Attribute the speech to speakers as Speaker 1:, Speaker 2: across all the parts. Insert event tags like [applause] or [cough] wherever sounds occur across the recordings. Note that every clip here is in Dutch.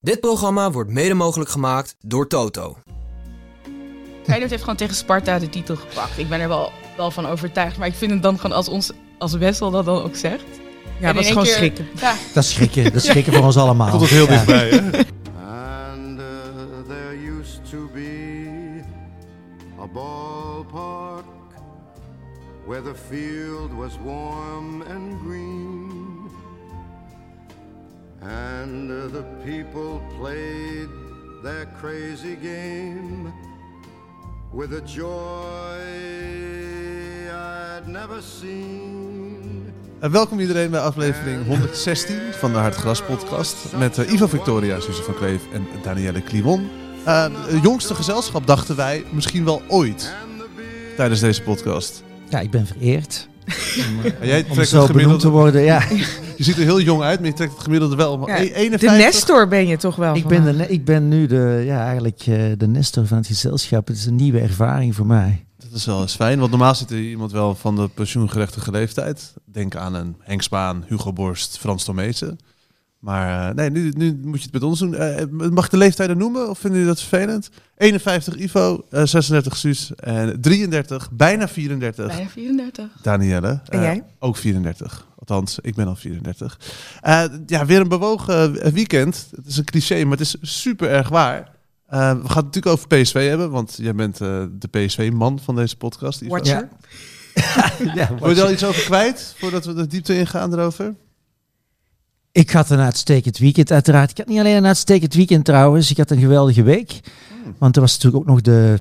Speaker 1: Dit programma wordt mede mogelijk gemaakt door Toto.
Speaker 2: Feyenoord heeft gewoon tegen Sparta de titel gepakt. Ik ben er wel, wel van overtuigd. Maar ik vind het dan gewoon als, ons, als Wessel dat dan ook zegt.
Speaker 3: Ja, dat is gewoon schrikken.
Speaker 2: Ja,
Speaker 4: Dat is schrikken, dat is schrikken voor ons allemaal.
Speaker 5: Tot het heel
Speaker 4: Ja.
Speaker 5: dichtbij, hè?
Speaker 6: And uh, there used to be a ballpark where the field was warm and green. And uh, the people played their crazy game with a joy I'd never seen.
Speaker 5: En welkom iedereen bij aflevering 116 van de Hartgras podcast. Met eh, Ivo Victoria, Suze van Kleef en Danielle Kliwon. Eh, het jongste gezelschap dachten wij misschien wel ooit [laughs] tijdens deze podcast.
Speaker 4: Ja, ik ben vereerd
Speaker 5: Om, eh, jij
Speaker 4: om
Speaker 5: trekt het
Speaker 4: zo benoemd te
Speaker 5: gemiddelde,
Speaker 4: worden. Ja,
Speaker 5: je ziet er heel jong uit, maar e- je trekt het gemiddelde wel.
Speaker 3: Ja,
Speaker 5: om 1- 51.
Speaker 3: De Nestor ben je toch wel?
Speaker 4: ik ben, de, ne- ik ben nu de, ja, eigenlijk eh, de nestor van het gezelschap. Het is een nieuwe ervaring voor
Speaker 5: [laughs]
Speaker 4: mij.
Speaker 5: Dat is wel eens fijn, want normaal zit er iemand wel van de pensioengerechtige leeftijd. Denk aan een Henk Spaan, Hugo Borst, Frans Tomezen. Maar eh, nee, nu, nu moet je het met ons doen. Eh, mag ik de leeftijden noemen of vinden jullie dat vervelend? 51 Ivo, eh, 36 Suus en 33, bijna 34
Speaker 2: bijna 34.
Speaker 5: Danielle.
Speaker 3: En
Speaker 5: Eh,
Speaker 3: jij?
Speaker 5: ook 34. Althans, ik ben al 34. Eh, ja, weer een bewogen eh, weekend. Het is een cliché, maar het is super erg waar. Eh, we gaan het natuurlijk over PSV hebben, want jij bent eh, de PSV-man van deze podcast. Ivo.
Speaker 3: Watcher.
Speaker 4: Ja. ja,
Speaker 5: Wil je er al iets over kwijt, voordat we de diepte ingaan erover?
Speaker 4: Ik had een uitstekend weekend uiteraard. Ik had niet alleen een uitstekend weekend trouwens. Ik had een geweldige week.
Speaker 5: Hmm.
Speaker 4: Want er was natuurlijk ook nog de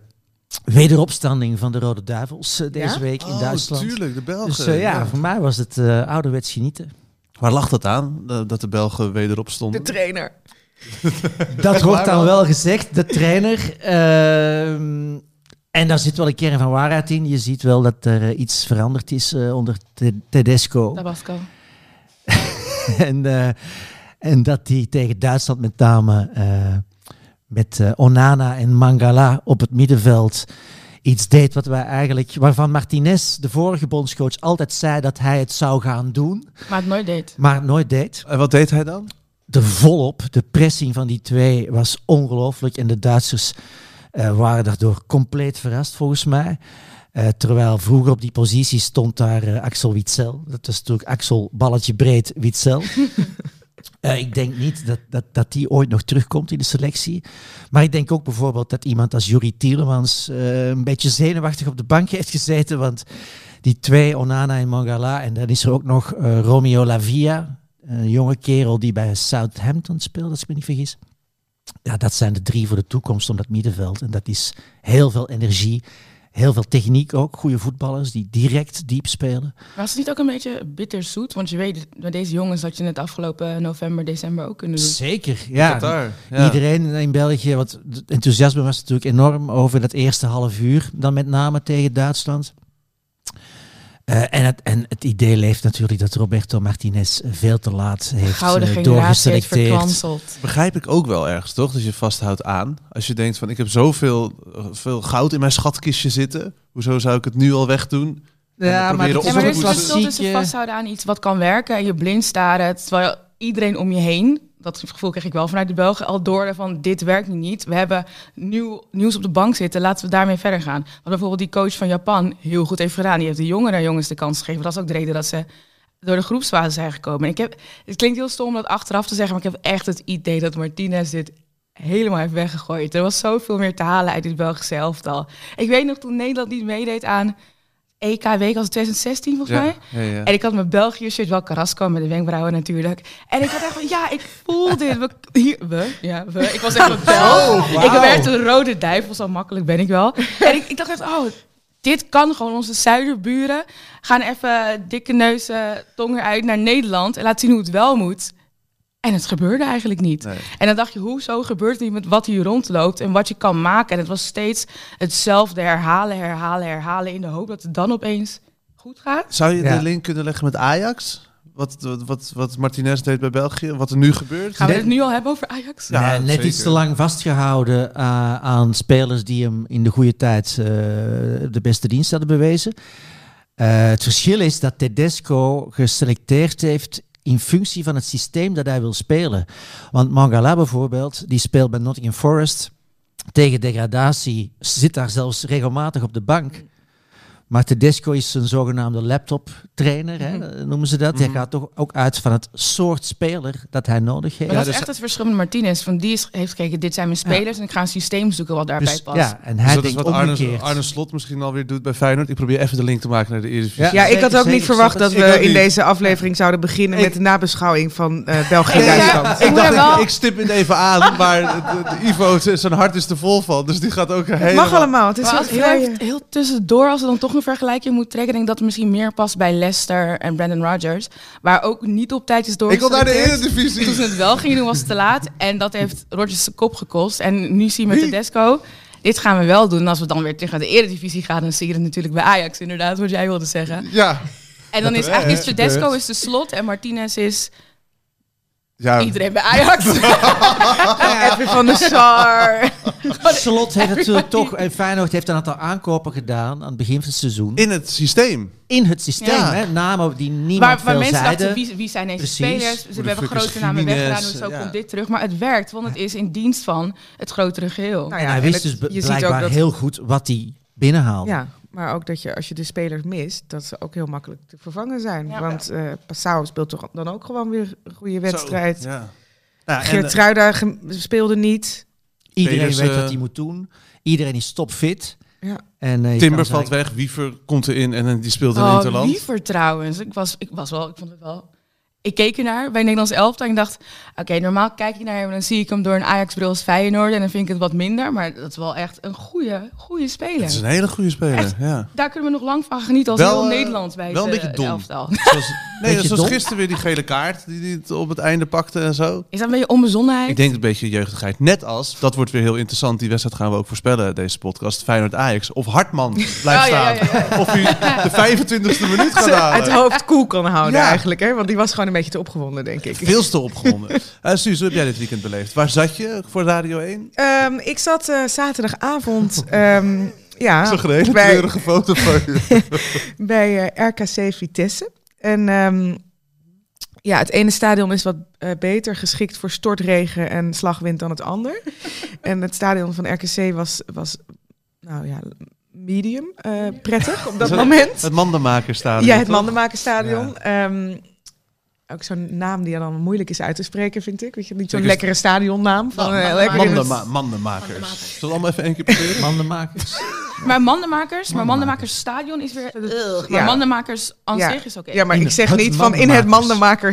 Speaker 4: wederopstanding van de Rode Duivels eh, deze
Speaker 3: Ja?
Speaker 4: week in Duitsland.
Speaker 5: Oh, tuurlijk, de Belgen.
Speaker 4: Dus eh, ja, voor mij was het eh, ouderwets genieten.
Speaker 5: Waar lag dat aan, eh, dat de Belgen wederop
Speaker 3: De
Speaker 5: stonden?
Speaker 3: trainer.
Speaker 4: Dat wordt dan
Speaker 5: wel.
Speaker 4: wel gezegd, de trainer. Ehm, en daar zit wel een kern van waarheid in. Je ziet wel dat er eh, iets veranderd is eh, onder Te- [laughs] Tedesco.
Speaker 2: Tabasco.
Speaker 4: en, eh, en dat die tegen Duitsland met name eh, met eh, Onana en Mangala op het middenveld iets deed wat wij eigenlijk, waarvan Martinez, de vorige bondscoach, altijd zei dat hij het zou gaan doen,
Speaker 2: Maar het nooit deed.
Speaker 4: maar nooit deed.
Speaker 5: En wat deed hij dan?
Speaker 4: de volop, de pressing van die twee was ongelooflijk. En de Duitsers eh, waren daardoor compleet verrast, volgens mij. Eh, terwijl vroeger op die positie stond daar eh, Axel Witsel. Dat was natuurlijk Axel balletje breed Witsel. Eh, ik denk niet dat, dat, dat die ooit nog terugkomt in de selectie. Maar ik denk ook bijvoorbeeld dat iemand als Juri Tielemans eh, een beetje zenuwachtig op de bank heeft gezeten. Want die twee, Onana en Mangala, en dan is er ook nog eh, Romeo Lavia, een jonge kerel die bij Southampton speelt, als ik me niet vergis. Ja, dat zijn de drie voor de toekomst om dat middenveld. En dat is heel veel energie, heel veel techniek ook. Goede voetballers die direct diep spelen.
Speaker 2: Was het niet ook een beetje bitterzoet? Want je weet, met deze jongens had je het afgelopen november, december ook kunnen doen.
Speaker 4: Zeker, ja.
Speaker 5: Qatar. Ja.
Speaker 4: Iedereen in België, want het enthousiasme was natuurlijk enorm over dat eerste half uur, dan met name tegen Duitsland. Eh, en, het, en het idee leeft natuurlijk dat Roberto Martinez veel te laat heeft
Speaker 2: Gouden
Speaker 4: eh,
Speaker 2: generatie heeft
Speaker 4: doorgeselecteerd.
Speaker 2: verkwanseld.
Speaker 5: Begrijp ik ook wel ergens, toch? Dat je vasthoudt aan. Als je denkt van, ik heb zoveel eh, veel goud in mijn schatkistje zitten. Hoezo zou ik het nu al wegdoen?
Speaker 4: Ja,
Speaker 5: En
Speaker 4: maar
Speaker 5: we
Speaker 4: het
Speaker 5: proberen
Speaker 4: is eh.
Speaker 2: Ja,
Speaker 4: ook
Speaker 2: maar er
Speaker 4: een
Speaker 5: op
Speaker 2: is
Speaker 5: te
Speaker 2: een verschil
Speaker 4: klassieke...
Speaker 2: tussen vasthouden aan iets wat kan werken en je blind staren. Terwijl iedereen om je heen, dat gevoel kreeg ik wel vanuit de Belgen, al door van dit werkt nu niet. We hebben nieuw, nieuws op de bank zitten, laten we daarmee verder gaan. Wat bijvoorbeeld die coach van Japan heel goed heeft gedaan. Die heeft de jongere jongens de kans gegeven. Dat is ook de reden dat ze door de groepsfase zijn gekomen. En ik heb, het klinkt heel stom om dat achteraf te zeggen, maar ik heb echt het idee dat Martinez dit helemaal heeft weggegooid. Er was zoveel meer te halen uit dit Belgische elftal. Ik weet nog toen Nederland niet meedeed aan E EK Week als 2016 volgens mij.
Speaker 5: Ja, ja, ja.
Speaker 2: En ik had mijn België shirt, wel Carrasco met de wenkbrauwen natuurlijk. En ik had echt van, ja, ik voel dit. We, hier, we, ja, we. Ik was
Speaker 5: [laughs]
Speaker 2: echt een
Speaker 5: Oh,
Speaker 2: Belg. Ik werd een rode duivel, zo makkelijk ben ik wel. En ik, ik dacht echt, oh, dit kan gewoon. Onze zuiderburen gaan even dikke neuzen, tong eruit naar Nederland en laten zien hoe het wel moet. En het gebeurde eigenlijk niet.
Speaker 5: Nee.
Speaker 2: En dan dacht je, hoezo gebeurt het niet met wat hier rondloopt en wat je kan maken? En het was steeds hetzelfde herhalen, herhalen, herhalen in de hoop dat het dan opeens goed gaat.
Speaker 5: Zou je
Speaker 4: Ja.
Speaker 5: de link kunnen leggen met Ajax? Wat, wat, wat, wat Martinez deed bij België? Wat er nu gebeurt?
Speaker 2: Gaan we
Speaker 4: Nee.
Speaker 2: het nu al hebben over Ajax?
Speaker 5: Ja,
Speaker 4: Nee, net
Speaker 5: zeker.
Speaker 4: iets te lang vastgehouden eh, aan spelers die hem in de goede tijd eh, de beste dienst hadden bewezen. Eh, het verschil is dat Tedesco geselecteerd heeft in functie van het systeem dat hij wil spelen. Want Mangala bijvoorbeeld, die speelt bij Nottingham Forest tegen degradatie, zit daar zelfs regelmatig op de bank. Maar Tedesco is een zogenaamde laptop-trainer,
Speaker 2: Mhm.
Speaker 4: hè, noemen ze dat. Hij gaat toch ook uit van het soort speler dat hij nodig heeft.
Speaker 2: Maar dat
Speaker 5: dus-
Speaker 2: is echt het verschil met Martinez. Van die is, heeft gekeken, dit zijn mijn spelers en ik ga een systeem zoeken wat daarbij
Speaker 4: Dus-
Speaker 2: past.
Speaker 4: ja, en
Speaker 5: Dus
Speaker 4: hij
Speaker 5: dat is
Speaker 4: denkt
Speaker 5: wat Arne,
Speaker 4: omgekeerd.
Speaker 5: Arne Slot misschien alweer doet bij Feyenoord. Ik probeer even de link te maken naar de Eredivisie.
Speaker 3: Ja, ik had
Speaker 4: Zeker,
Speaker 3: ook
Speaker 4: zeker,
Speaker 3: niet verwacht
Speaker 4: ik
Speaker 3: dat
Speaker 4: snap
Speaker 5: het. Ik
Speaker 3: we
Speaker 5: ook
Speaker 3: in
Speaker 5: niet.
Speaker 3: deze aflevering zouden beginnen met de nabeschouwing van eh België-Duitsland.
Speaker 2: Ik moet
Speaker 5: dacht,
Speaker 2: er wel-
Speaker 5: ik, ik stip het even aan, maar de- de- de Ivo, z- zijn hart is er vol van. Dus die gaat ook helemaal...
Speaker 3: Het mag allemaal, het is
Speaker 2: Maar
Speaker 3: wel
Speaker 2: als heel,
Speaker 3: vrij-
Speaker 2: even- heel tussendoor, als we dan toch een vergelijking moeten trekken, denk ik dat het misschien meer past bij Leicester en Brandon Rodgers. Waar ook niet op tijd is door.
Speaker 5: Ik wil naar de
Speaker 2: Toen ze
Speaker 5: Eredivisie.
Speaker 2: het wel gingen doen, was het te laat. En dat heeft Rodgers de kop gekost. En nu zien we Tedesco. Dit gaan we wel doen. En Als we dan weer terug naar de Eredivisie gaan, dan zie je het natuurlijk bij Ajax, inderdaad, wat jij wilde zeggen.
Speaker 5: Ja.
Speaker 2: En dan is eigenlijk is
Speaker 5: Ja,
Speaker 2: Tedesco
Speaker 5: gebeurt.
Speaker 2: is de slot en Martinez is
Speaker 5: ja.
Speaker 2: iedereen bij Ajax.
Speaker 3: Edwin van der Sar.
Speaker 4: Slot heeft natuurlijk toch, en Feyenoord heeft een aantal aankopen gedaan aan het begin van het seizoen.
Speaker 5: In het systeem.
Speaker 4: In het systeem,
Speaker 5: Ja.
Speaker 4: hè, namen die niemand
Speaker 2: Waar, waar
Speaker 4: veel
Speaker 2: mensen
Speaker 4: zeiden.
Speaker 2: dachten, wie, wie zijn deze
Speaker 4: Precies.
Speaker 2: spelers? Ze
Speaker 5: Voor de
Speaker 2: hebben
Speaker 5: Fuckers
Speaker 2: grote namen
Speaker 5: Gimenez,
Speaker 2: weggedaan, dus zo
Speaker 5: ja.
Speaker 2: komt dit terug. Maar het werkt, want het is in dienst van het grotere geheel.
Speaker 3: Nou
Speaker 4: En
Speaker 3: ja,
Speaker 4: hij
Speaker 3: en
Speaker 4: wist
Speaker 3: het-
Speaker 4: dus
Speaker 3: je
Speaker 4: bl-
Speaker 3: ziet ook
Speaker 4: blijkbaar
Speaker 3: dat-
Speaker 4: heel goed wat hij binnenhaalde.
Speaker 3: Ja, maar ook dat je als je de spelers mist, dat ze ook heel makkelijk te vervangen zijn.
Speaker 2: Ja.
Speaker 3: Want eh Passau speelt toch dan ook gewoon weer een goede wedstrijd.
Speaker 5: Zo, ja. Nou, en, eh,
Speaker 3: Geertruida ge- speelde niet.
Speaker 4: Iedereen
Speaker 5: Spelers,
Speaker 4: weet
Speaker 5: eh,
Speaker 4: wat hij moet doen. Iedereen is topfit.
Speaker 3: Ja.
Speaker 4: En, eh, je
Speaker 5: Timber
Speaker 4: kan
Speaker 5: valt
Speaker 4: zeggen-
Speaker 5: weg, Wiever komt erin en eh, die speelt in
Speaker 2: oh,
Speaker 5: Interland.
Speaker 2: liever trouwens. Ik was, ik was wel, ik vond het wel... Ik keek ernaar bij Nederlands elftal en ik dacht... Oké, normaal kijk ik naar hem en dan zie ik hem door een Ajax-bril als Feyenoord... en dan vind ik het wat minder, maar dat is wel echt een goede, goede
Speaker 5: Het is
Speaker 2: speler.
Speaker 5: een hele goede speler,
Speaker 2: Echt? [laughs]
Speaker 5: ja.
Speaker 2: Daar kunnen we nog lang van genieten als
Speaker 5: Wel,
Speaker 2: heel
Speaker 5: eh,
Speaker 2: Nederland bij
Speaker 5: wel een
Speaker 2: het,
Speaker 5: beetje
Speaker 2: eh,
Speaker 5: dom.
Speaker 2: elftal.
Speaker 5: Zoals, nee,
Speaker 4: Beetje
Speaker 5: zoals
Speaker 4: dom.
Speaker 5: gisteren weer die gele kaart die die het op het einde pakte en zo.
Speaker 2: Is dat een beetje onbezonnenheid?
Speaker 5: Ik denk een beetje jeugdigheid. Net als, dat wordt weer heel interessant, die wedstrijd gaan we ook voorspellen, deze podcast, Feyenoord-Ajax. Of Hartman
Speaker 2: [laughs]
Speaker 5: blijft
Speaker 2: Oh, ja, ja,
Speaker 5: staan.
Speaker 2: ja,
Speaker 5: Of hij de 25e minuut gaat
Speaker 3: Het
Speaker 5: halen.
Speaker 3: hoofd koel kan houden
Speaker 5: Ja.
Speaker 3: eigenlijk, hè? Want die was gewoon een beetje te opgewonden, denk ik.
Speaker 5: Veel te opgewonden. Eh Suus, hoe heb jij dit weekend beleefd? Waar zat je voor Radio 1?
Speaker 2: Ah,
Speaker 3: Ehm, ik zat eh, zaterdagavond ehm, ja,
Speaker 5: Ik zag een hele
Speaker 3: bij,
Speaker 5: kleurige foto van
Speaker 2: [laughs]
Speaker 5: je.
Speaker 3: bij eh, RKC Vitesse. En ehm, ja, het ene stadion is wat eh, beter geschikt voor stortregen en slagwind dan het ander. en het stadion van RKC was, was nou ja, medium eh, prettig op dat
Speaker 5: Zo-
Speaker 3: moment.
Speaker 5: Het mandenmaker staat.
Speaker 3: Ja, het Mandenmakerstadion. Ehm, ook zo'n naam die dan moeilijk is uit te spreken, vind ik. Weet je, niet zo'n
Speaker 5: Ik-
Speaker 3: lekkere stadionnaam. Van,
Speaker 5: Nou,
Speaker 3: eh,
Speaker 2: Mandenmaker.
Speaker 3: lekker in het-
Speaker 5: Mandenma mandenmakers. Zullen we allemaal even één keer
Speaker 3: [laughs]
Speaker 5: proberen?
Speaker 4: Mandenmakers.
Speaker 2: Maar mandenmakers, maar mandenmakers stadion is weer... Ugh, maar
Speaker 3: Ja.
Speaker 2: mandenmakers aan
Speaker 3: Ja.
Speaker 2: zich is oké.
Speaker 3: Ja, maar
Speaker 4: In
Speaker 3: ik
Speaker 4: het-
Speaker 3: zeg
Speaker 4: het
Speaker 3: niet van in het
Speaker 4: Mandenmakers.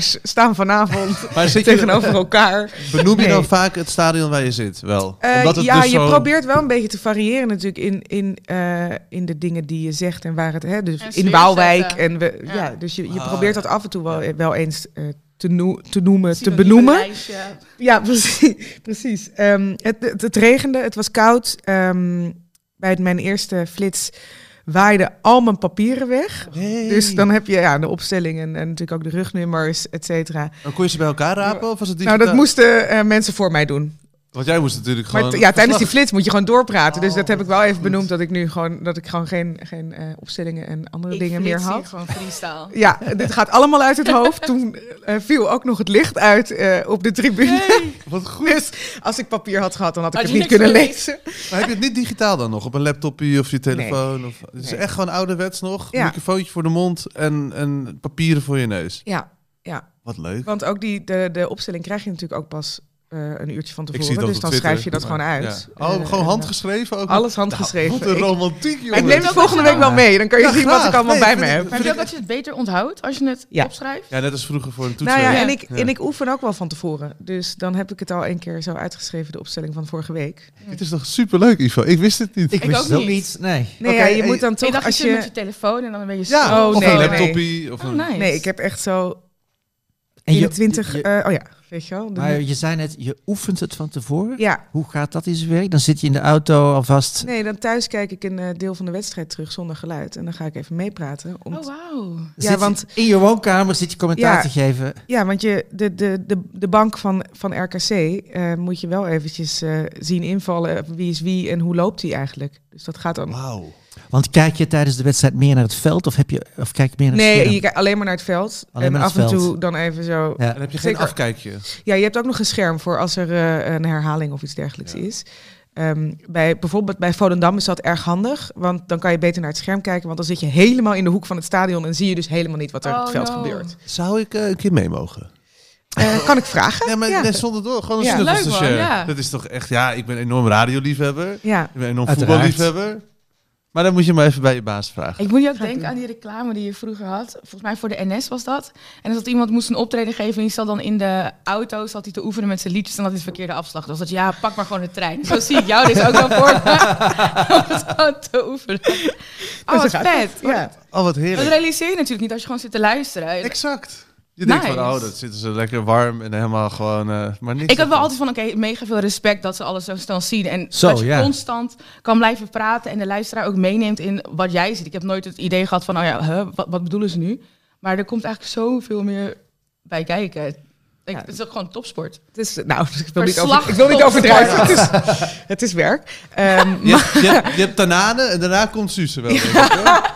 Speaker 3: Mandenmakers staan
Speaker 5: [laughs]
Speaker 3: vanavond [laughs]
Speaker 5: Maar zit je,
Speaker 3: tegenover elkaar.
Speaker 5: benoem je dan
Speaker 3: Nee.
Speaker 5: vaak het stadion waar je zit? Wel.
Speaker 3: Eh,
Speaker 5: Omdat het
Speaker 3: ja,
Speaker 5: dus
Speaker 3: je
Speaker 5: zo-
Speaker 3: probeert wel een beetje te variëren natuurlijk in, in, eh, in de dingen die je zegt en waar het... Hè, dus
Speaker 2: En
Speaker 3: in
Speaker 2: sfeer
Speaker 3: Waalwijk.
Speaker 2: zetten.
Speaker 3: En we,
Speaker 2: Ja.
Speaker 3: ja. dus je, je
Speaker 5: Ah,
Speaker 3: probeert dat af en toe wel, wel eens eh, te, noe- te noemen, te
Speaker 2: Synonieme
Speaker 3: benoemen.
Speaker 2: lijstje.
Speaker 3: Ja, [laughs] precies. precies. Ehm, het, het, het regende, het was koud. Ehm, bij het- mijn eerste flits waaiden al mijn papieren weg.
Speaker 5: Hey.
Speaker 3: Dus dan heb je ja, de opstelling en, en natuurlijk ook de rugnummers, et cetera.
Speaker 5: Dan kon je ze bij elkaar rapen? Of was het
Speaker 3: Nou, dat
Speaker 5: digitaal?
Speaker 3: moesten eh, mensen voor mij doen.
Speaker 5: Want jij moest natuurlijk
Speaker 3: Maar
Speaker 5: gewoon...
Speaker 3: t- ja, tijdens die
Speaker 5: verslag- Oh,
Speaker 3: flits moet je gewoon doorpraten. dus dat heb ik wel even
Speaker 5: goed.
Speaker 3: benoemd, dat ik nu gewoon, dat ik gewoon geen, geen eh, opstellingen en andere
Speaker 2: Ik
Speaker 3: dingen meer
Speaker 2: flits hier
Speaker 3: had.
Speaker 2: gewoon freestyle.
Speaker 3: Ja, dit gaat allemaal uit het hoofd. Toen eh, viel ook nog het licht uit eh, op de tribune.
Speaker 5: Wat goed.
Speaker 3: Dus als ik papier had gehad, dan had ik
Speaker 2: Had
Speaker 3: het
Speaker 2: je
Speaker 3: niet
Speaker 2: niks
Speaker 3: kunnen
Speaker 2: gelezen?
Speaker 3: lezen.
Speaker 5: Maar heb je het niet digitaal dan nog? Op een laptopje of je telefoon? Of, het is
Speaker 3: Nee.
Speaker 5: echt gewoon ouderwets nog.
Speaker 3: Ja.
Speaker 5: Microfoontje voor de mond en, en papieren voor je neus.
Speaker 3: Ja,
Speaker 5: Wat leuk.
Speaker 3: want ook die, de, de opstelling krijg je natuurlijk ook pas eh, een uurtje van
Speaker 5: Ik
Speaker 3: tevoren.
Speaker 5: zie dat
Speaker 3: dus
Speaker 5: op
Speaker 3: dan
Speaker 5: Twitter,
Speaker 3: schrijf je dat
Speaker 5: maar-
Speaker 3: gewoon uit.
Speaker 5: ja. Oh,
Speaker 3: Eh,
Speaker 5: gewoon
Speaker 3: en,
Speaker 5: handgeschreven ook?
Speaker 3: eh, alles handgeschreven.
Speaker 5: Wat een
Speaker 3: ik,
Speaker 5: romantiek, jongen.
Speaker 3: ik neem het volgende week wel mee. Dan kan je
Speaker 5: Ja,
Speaker 3: zien wat
Speaker 5: graag.
Speaker 3: ik allemaal
Speaker 5: Nee,
Speaker 3: bij me
Speaker 5: vind ik-
Speaker 3: heb.
Speaker 2: Maar heb je ook dat je het beter onthoudt als je het
Speaker 3: Ja.
Speaker 2: opschrijft?
Speaker 5: Ja, net als vroeger voor een toets.
Speaker 3: Nou ja,
Speaker 2: Ja.
Speaker 3: en ik,
Speaker 5: Ja.
Speaker 3: en ik oefen ook wel van tevoren. Dus dan heb ik het al een keer zo uitgeschreven, de opstelling van vorige week.
Speaker 5: Dit Mm. is toch superleuk, Ivo? Ik wist het niet.
Speaker 4: Ik, wist
Speaker 2: ook
Speaker 4: het ook
Speaker 2: niet.
Speaker 4: niet. Nee.
Speaker 3: Nee,
Speaker 5: Oké,
Speaker 3: ja, je
Speaker 5: hey,
Speaker 3: moet dan
Speaker 2: ik
Speaker 3: toch
Speaker 2: dacht,
Speaker 3: als
Speaker 2: je zit met
Speaker 3: je...
Speaker 2: je telefoon en dan ben je zo...
Speaker 5: Ja,
Speaker 3: Oh,
Speaker 5: of
Speaker 3: nee,
Speaker 5: een
Speaker 3: nee.
Speaker 5: laptopje. Of
Speaker 2: Oh,
Speaker 5: een...
Speaker 2: nice.
Speaker 3: Nee, ik heb echt zo
Speaker 4: En je-
Speaker 3: 21...
Speaker 4: je- je-
Speaker 3: eh, oh ja, weet je wel. de-
Speaker 4: maar je zei net, je oefent het van tevoren.
Speaker 3: ja,
Speaker 4: Hoe gaat dat in zijn werk? Dan zit je in de auto alvast.
Speaker 3: nee, dan thuis kijk ik een eh, deel van de wedstrijd terug zonder geluid. En dan ga ik even meepraten. Om
Speaker 2: Oh, wauw.
Speaker 3: Ja,
Speaker 4: Zit je-
Speaker 3: want-
Speaker 4: in je woonkamer zit je commentaar
Speaker 3: Ja.
Speaker 4: te geven.
Speaker 3: Ja, want je, de, de, de, de bank van, van RKC eh, moet je wel eventjes eh, zien invallen. Wie is wie en hoe loopt die eigenlijk? Dus dat gaat dan.
Speaker 5: Wauw.
Speaker 4: Want kijk je tijdens de wedstrijd meer naar het veld of, heb je, of kijk je meer naar het
Speaker 3: Nee,
Speaker 4: scherm?
Speaker 3: je kijkt alleen maar naar het veld.
Speaker 4: Alleen
Speaker 3: en
Speaker 4: maar
Speaker 3: af
Speaker 4: naar het
Speaker 3: en
Speaker 4: veld.
Speaker 3: toe dan even zo. Ja.
Speaker 4: Ja.
Speaker 5: En heb je geen
Speaker 3: Zeker.
Speaker 5: afkijkje?
Speaker 3: je hebt ook nog een scherm voor als er eh, een herhaling of iets dergelijks
Speaker 5: Ja.
Speaker 3: is. Ehm, bij, bijvoorbeeld bij Volendam is dat erg handig, want dan kan je beter naar het scherm kijken, want dan zit je helemaal in de hoek van het stadion en zie je dus helemaal niet wat er op het
Speaker 2: Oh,
Speaker 3: veld
Speaker 2: no. [laughs]
Speaker 3: gebeurt.
Speaker 5: Zou ik eh, een keer mee mogen?
Speaker 3: Eh, kan ik vragen?
Speaker 5: Ja, maar
Speaker 3: ja.
Speaker 5: net zonder door. Gewoon een
Speaker 3: Ja.
Speaker 5: snuffeltje.
Speaker 2: Leuk, man, ja.
Speaker 5: Dat is toch echt... Ja, ik ben een enorm radioliefhebber.
Speaker 3: Ja.
Speaker 5: Ik ben een enorm
Speaker 4: Uiteraard.
Speaker 5: voetballiefhebber. Maar dan moet je maar even bij je baas vragen.
Speaker 2: Ik moet je ook
Speaker 3: Ga ik
Speaker 2: denken
Speaker 3: doen.
Speaker 2: aan die reclame die je vroeger had. Volgens mij voor de NS was dat. En er zat iemand moest een optreden geven. En die zat dan in de auto zat hij te oefenen met zijn liedjes. En dat is verkeerde afslag. Dus dat ja, pak maar gewoon de trein. Zo zie ik jou dus ook wel voor. [laughs] Om het gewoon te oefenen. Oh, wat
Speaker 3: gaat
Speaker 2: vet.
Speaker 3: Ja.
Speaker 5: Oh, wat
Speaker 2: Dat
Speaker 5: heerlijk.
Speaker 2: realiseer je natuurlijk niet als je gewoon zit te luisteren.
Speaker 5: Exact. Je
Speaker 2: Nice.
Speaker 5: denkt van, oh, dat zitten ze lekker warm en helemaal gewoon... eh, maar niks
Speaker 2: Ik had wel
Speaker 5: ervan.
Speaker 2: altijd van, oké, mega veel respect dat ze alles zo snel zien. En
Speaker 4: Zo,
Speaker 2: dat je
Speaker 4: ja.
Speaker 2: constant kan blijven praten en de luisteraar ook meeneemt in wat jij ziet. Ik heb nooit het idee gehad van, oh ja, huh, wat, wat bedoelen ze nu? Maar er komt eigenlijk zoveel meer bij kijken. Ik,
Speaker 3: Ja.
Speaker 2: Het is ook gewoon topsport.
Speaker 3: Dus, nou, [laughs] ik wil, niet,
Speaker 2: Verslag
Speaker 3: over, ik wil niet
Speaker 2: tot
Speaker 3: overdrijven. Het is, het is werk. Ehm,
Speaker 5: Je hebt, je hebt, je hebt Tanane en daarna komt Suze [laughs] wel. denk ik, hoor.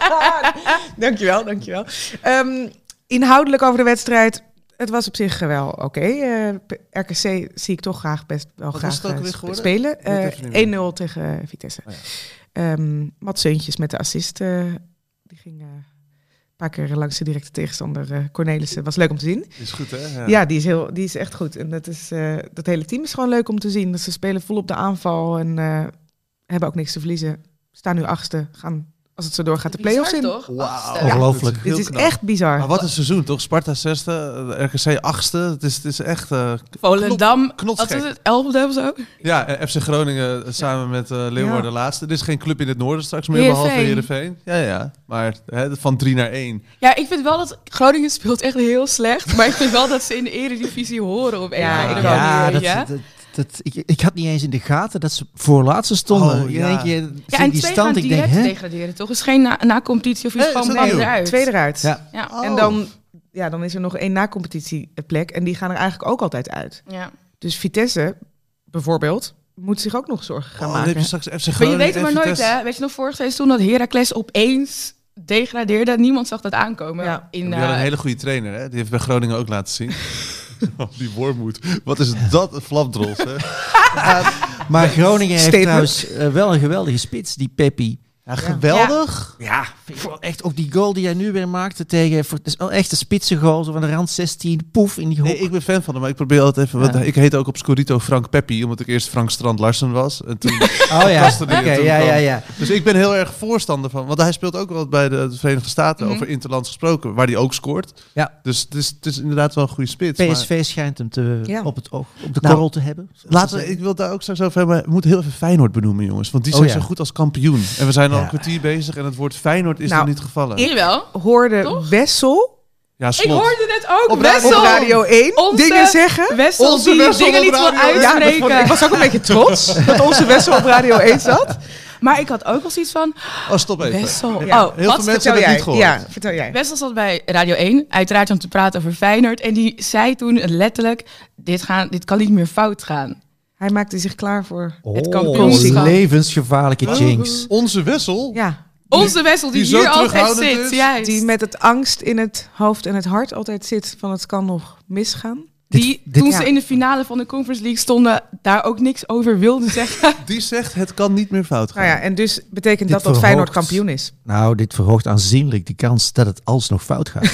Speaker 3: [laughs] dankjewel, dankjewel. Ehm, inhoudelijk over de wedstrijd. Het was op zich eh, wel oké. Eh, P- RKC zie ik toch graag best wel
Speaker 5: Wat
Speaker 3: graag
Speaker 5: was het ook
Speaker 3: eh,
Speaker 5: weer
Speaker 3: sp-
Speaker 5: geworden?
Speaker 3: spelen.
Speaker 5: weet
Speaker 3: Eh,
Speaker 5: even niet meer.
Speaker 3: 1-0 tegen eh, Vitesse.
Speaker 5: Oh
Speaker 3: Ehm, Mats Seuntjes met de assist. eh, die ging eh, een paar keer langs de directe tegenstander eh Cornelissen. Was leuk om te zien.
Speaker 5: Is goed, hè? Ja.
Speaker 3: Ja, die is, heel, die is echt goed. En dat, is, eh, dat hele team is gewoon leuk om te zien. Dat ze spelen vol op de aanval en eh, hebben ook niks te verliezen. Staan nu achtste, gaan als het zo doorgaat de play-offs in.
Speaker 2: Bizar, toch? Achtste.
Speaker 5: Ja.
Speaker 4: Ongelooflijk.
Speaker 5: Dat heel
Speaker 3: Dit is
Speaker 5: knap.
Speaker 3: echt bizar.
Speaker 5: Maar wat een seizoen, toch? Sparta zesde, eh, RKC achtste. Het is, het is echt... eh,
Speaker 2: Volendam,
Speaker 5: knotsgek.
Speaker 2: wat is het, elfde of zo?
Speaker 5: ja, en FC Groningen eh, samen met eh Leeuwarden
Speaker 3: Ja.
Speaker 5: laatste. Er is geen club in het noorden straks meer,
Speaker 2: Heerenveen.
Speaker 5: behalve Heerenveen. Ja, ja. Maar hè, van drie naar één. Oh,
Speaker 2: Ja, ik vind wel dat Groningen speelt echt heel slecht. Maar ik vind wel dat ze in de eredivisie horen op een
Speaker 3: Ja,
Speaker 2: of
Speaker 3: ik
Speaker 2: andere
Speaker 3: ook.
Speaker 4: Ja,
Speaker 2: manier,
Speaker 4: dat,
Speaker 2: ja?
Speaker 4: dat, dat- ik, ik had niet eens in de gaten dat ze voorlaatste stonden.
Speaker 5: Oh,
Speaker 4: Ik
Speaker 5: ja.
Speaker 4: denk, je,
Speaker 2: Ja,
Speaker 4: zie
Speaker 2: en
Speaker 4: die
Speaker 2: twee gaan
Speaker 4: stand, ik denk,
Speaker 2: direct
Speaker 4: hè?
Speaker 2: degraderen, toch? Het is geen na- na-competitie of iets,
Speaker 5: Nee,
Speaker 2: gewoon
Speaker 5: is dat
Speaker 2: gewoon
Speaker 5: nieuw?
Speaker 2: eruit.
Speaker 3: Tweede eruit.
Speaker 4: Ja.
Speaker 2: Ja.
Speaker 5: Oh.
Speaker 3: En dan, ja, dan is er nog één nacompetitieplek. En die gaan er eigenlijk ook altijd uit.
Speaker 2: ja.
Speaker 3: Dus Vitesse, bijvoorbeeld, moet zich ook nog zorgen gaan
Speaker 5: Oh, dan heb
Speaker 3: maken.
Speaker 5: je straks FC
Speaker 2: Maar je
Speaker 5: Groningen
Speaker 2: weet het
Speaker 5: en
Speaker 2: maar nooit,
Speaker 5: Vitesse.
Speaker 2: hè? Weet je nog, vorig seizoen toen dat Heracles opeens degradeerde. Niemand zag dat aankomen.
Speaker 3: Ja.
Speaker 2: In,
Speaker 5: En die
Speaker 2: eh,
Speaker 5: had een hele goede trainer, hè? Die heeft bij Groningen ook
Speaker 2: [laughs]
Speaker 5: laten zien. Oh, die Wormoed. Wat is dat? Een flapdrols, hè?
Speaker 4: Maar Groningen heeft
Speaker 3: Statement.
Speaker 4: trouwens eh, wel een geweldige spits, die Peppi.
Speaker 5: Ja, geweldig.
Speaker 4: Ja, vind ik wel echt ook die goal die hij nu weer maakte tegen... voor- Het is wel echt een spitse goal, zo van de rand 16, poef in die hoek.
Speaker 5: Nee, ik ben fan van hem, maar ik probeer altijd even... want
Speaker 4: Ja.
Speaker 5: ik heet ook op Scorito Frank Peppi, omdat ik eerst Frank Strand Larsen was. En toen
Speaker 4: oh ja,
Speaker 5: gasten
Speaker 4: oké,
Speaker 5: die er toen
Speaker 4: ja, ja,
Speaker 5: kwamen.
Speaker 4: ja.
Speaker 5: Dus ik ben heel erg voorstander van. Want hij speelt ook wel bij de, de Verenigde Staten
Speaker 2: Mhm.
Speaker 5: over Interlands gesproken, waar hij ook scoort.
Speaker 4: Ja.
Speaker 5: Dus het is, het is inderdaad wel een goede spits. maar-
Speaker 4: PSV schijnt hem te,
Speaker 3: Ja.
Speaker 4: op, het oog, op de
Speaker 5: Nou,
Speaker 4: korrel te hebben.
Speaker 5: Laten we, ik wil het daar ook straks over hebben. We moeten heel even Feyenoord benoemen, jongens. Want die
Speaker 4: Oh,
Speaker 5: zijn
Speaker 4: ja.
Speaker 5: zo goed als kampioen. En we zijn al
Speaker 4: Ja.
Speaker 5: een kwartier bezig en het woord Feyenoord is
Speaker 3: Nou,
Speaker 5: nog niet gevallen.
Speaker 2: Hier wel.
Speaker 3: Hoorde
Speaker 2: Toch?
Speaker 3: Wessel
Speaker 5: ja,
Speaker 2: Ik
Speaker 5: slot.
Speaker 2: hoorde net ook.
Speaker 5: Op ra-
Speaker 3: op
Speaker 2: Wessel.
Speaker 3: Radio 1
Speaker 2: Onze-
Speaker 3: dingen zeggen.
Speaker 2: Wessel
Speaker 5: Onze
Speaker 2: die
Speaker 5: Wessel
Speaker 2: dingen
Speaker 5: op
Speaker 2: niet wil
Speaker 5: Radio 1.
Speaker 3: Ja, dat
Speaker 2: uitspreken.
Speaker 3: vond ik ik was ook een beetje trots
Speaker 5: [laughs]
Speaker 3: dat onze Wessel op Radio 1 zat.
Speaker 2: Maar ik had ook wel zoiets van...
Speaker 5: Oh, stop even.
Speaker 2: Wessel.
Speaker 5: Ja,
Speaker 2: Oh,
Speaker 5: heel
Speaker 2: wat?
Speaker 5: veel mensen
Speaker 3: Vertel
Speaker 5: hebben het
Speaker 3: jij.
Speaker 5: niet gehoord.
Speaker 3: Ja, vertel jij.
Speaker 2: Wessel zat bij Radio 1, uiteraard om te praten over Feyenoord. En die zei toen letterlijk, dit, gaan, dit kan niet meer fout gaan.
Speaker 3: Hij maakte zich klaar voor...
Speaker 2: het kan
Speaker 4: Oh,
Speaker 2: komen.
Speaker 4: levensgevaarlijke
Speaker 5: Oh.
Speaker 4: jinx.
Speaker 5: Onze Wessel?
Speaker 3: Ja,
Speaker 2: Onze Wessel die,
Speaker 5: Die zo
Speaker 2: hier altijd
Speaker 5: terughoudend
Speaker 2: zit.
Speaker 5: is.
Speaker 2: Juist.
Speaker 3: die met het angst in het hoofd en het hart altijd zit van het kan nog misgaan.
Speaker 2: Die,
Speaker 4: Dit- dit-
Speaker 2: toen
Speaker 3: ja.
Speaker 2: ze in de finale van de Conference League stonden, daar ook niks over wilden
Speaker 5: [laughs]
Speaker 2: zeggen.
Speaker 5: Die zegt het kan niet meer fout gaan.
Speaker 3: Nou ja, en dus betekent
Speaker 4: Dit
Speaker 3: dat dat Feyenoord
Speaker 4: verhoogt-
Speaker 3: kampioen is.
Speaker 4: Nou, dit verhoogt aanzienlijk de kans dat het alsnog fout gaat.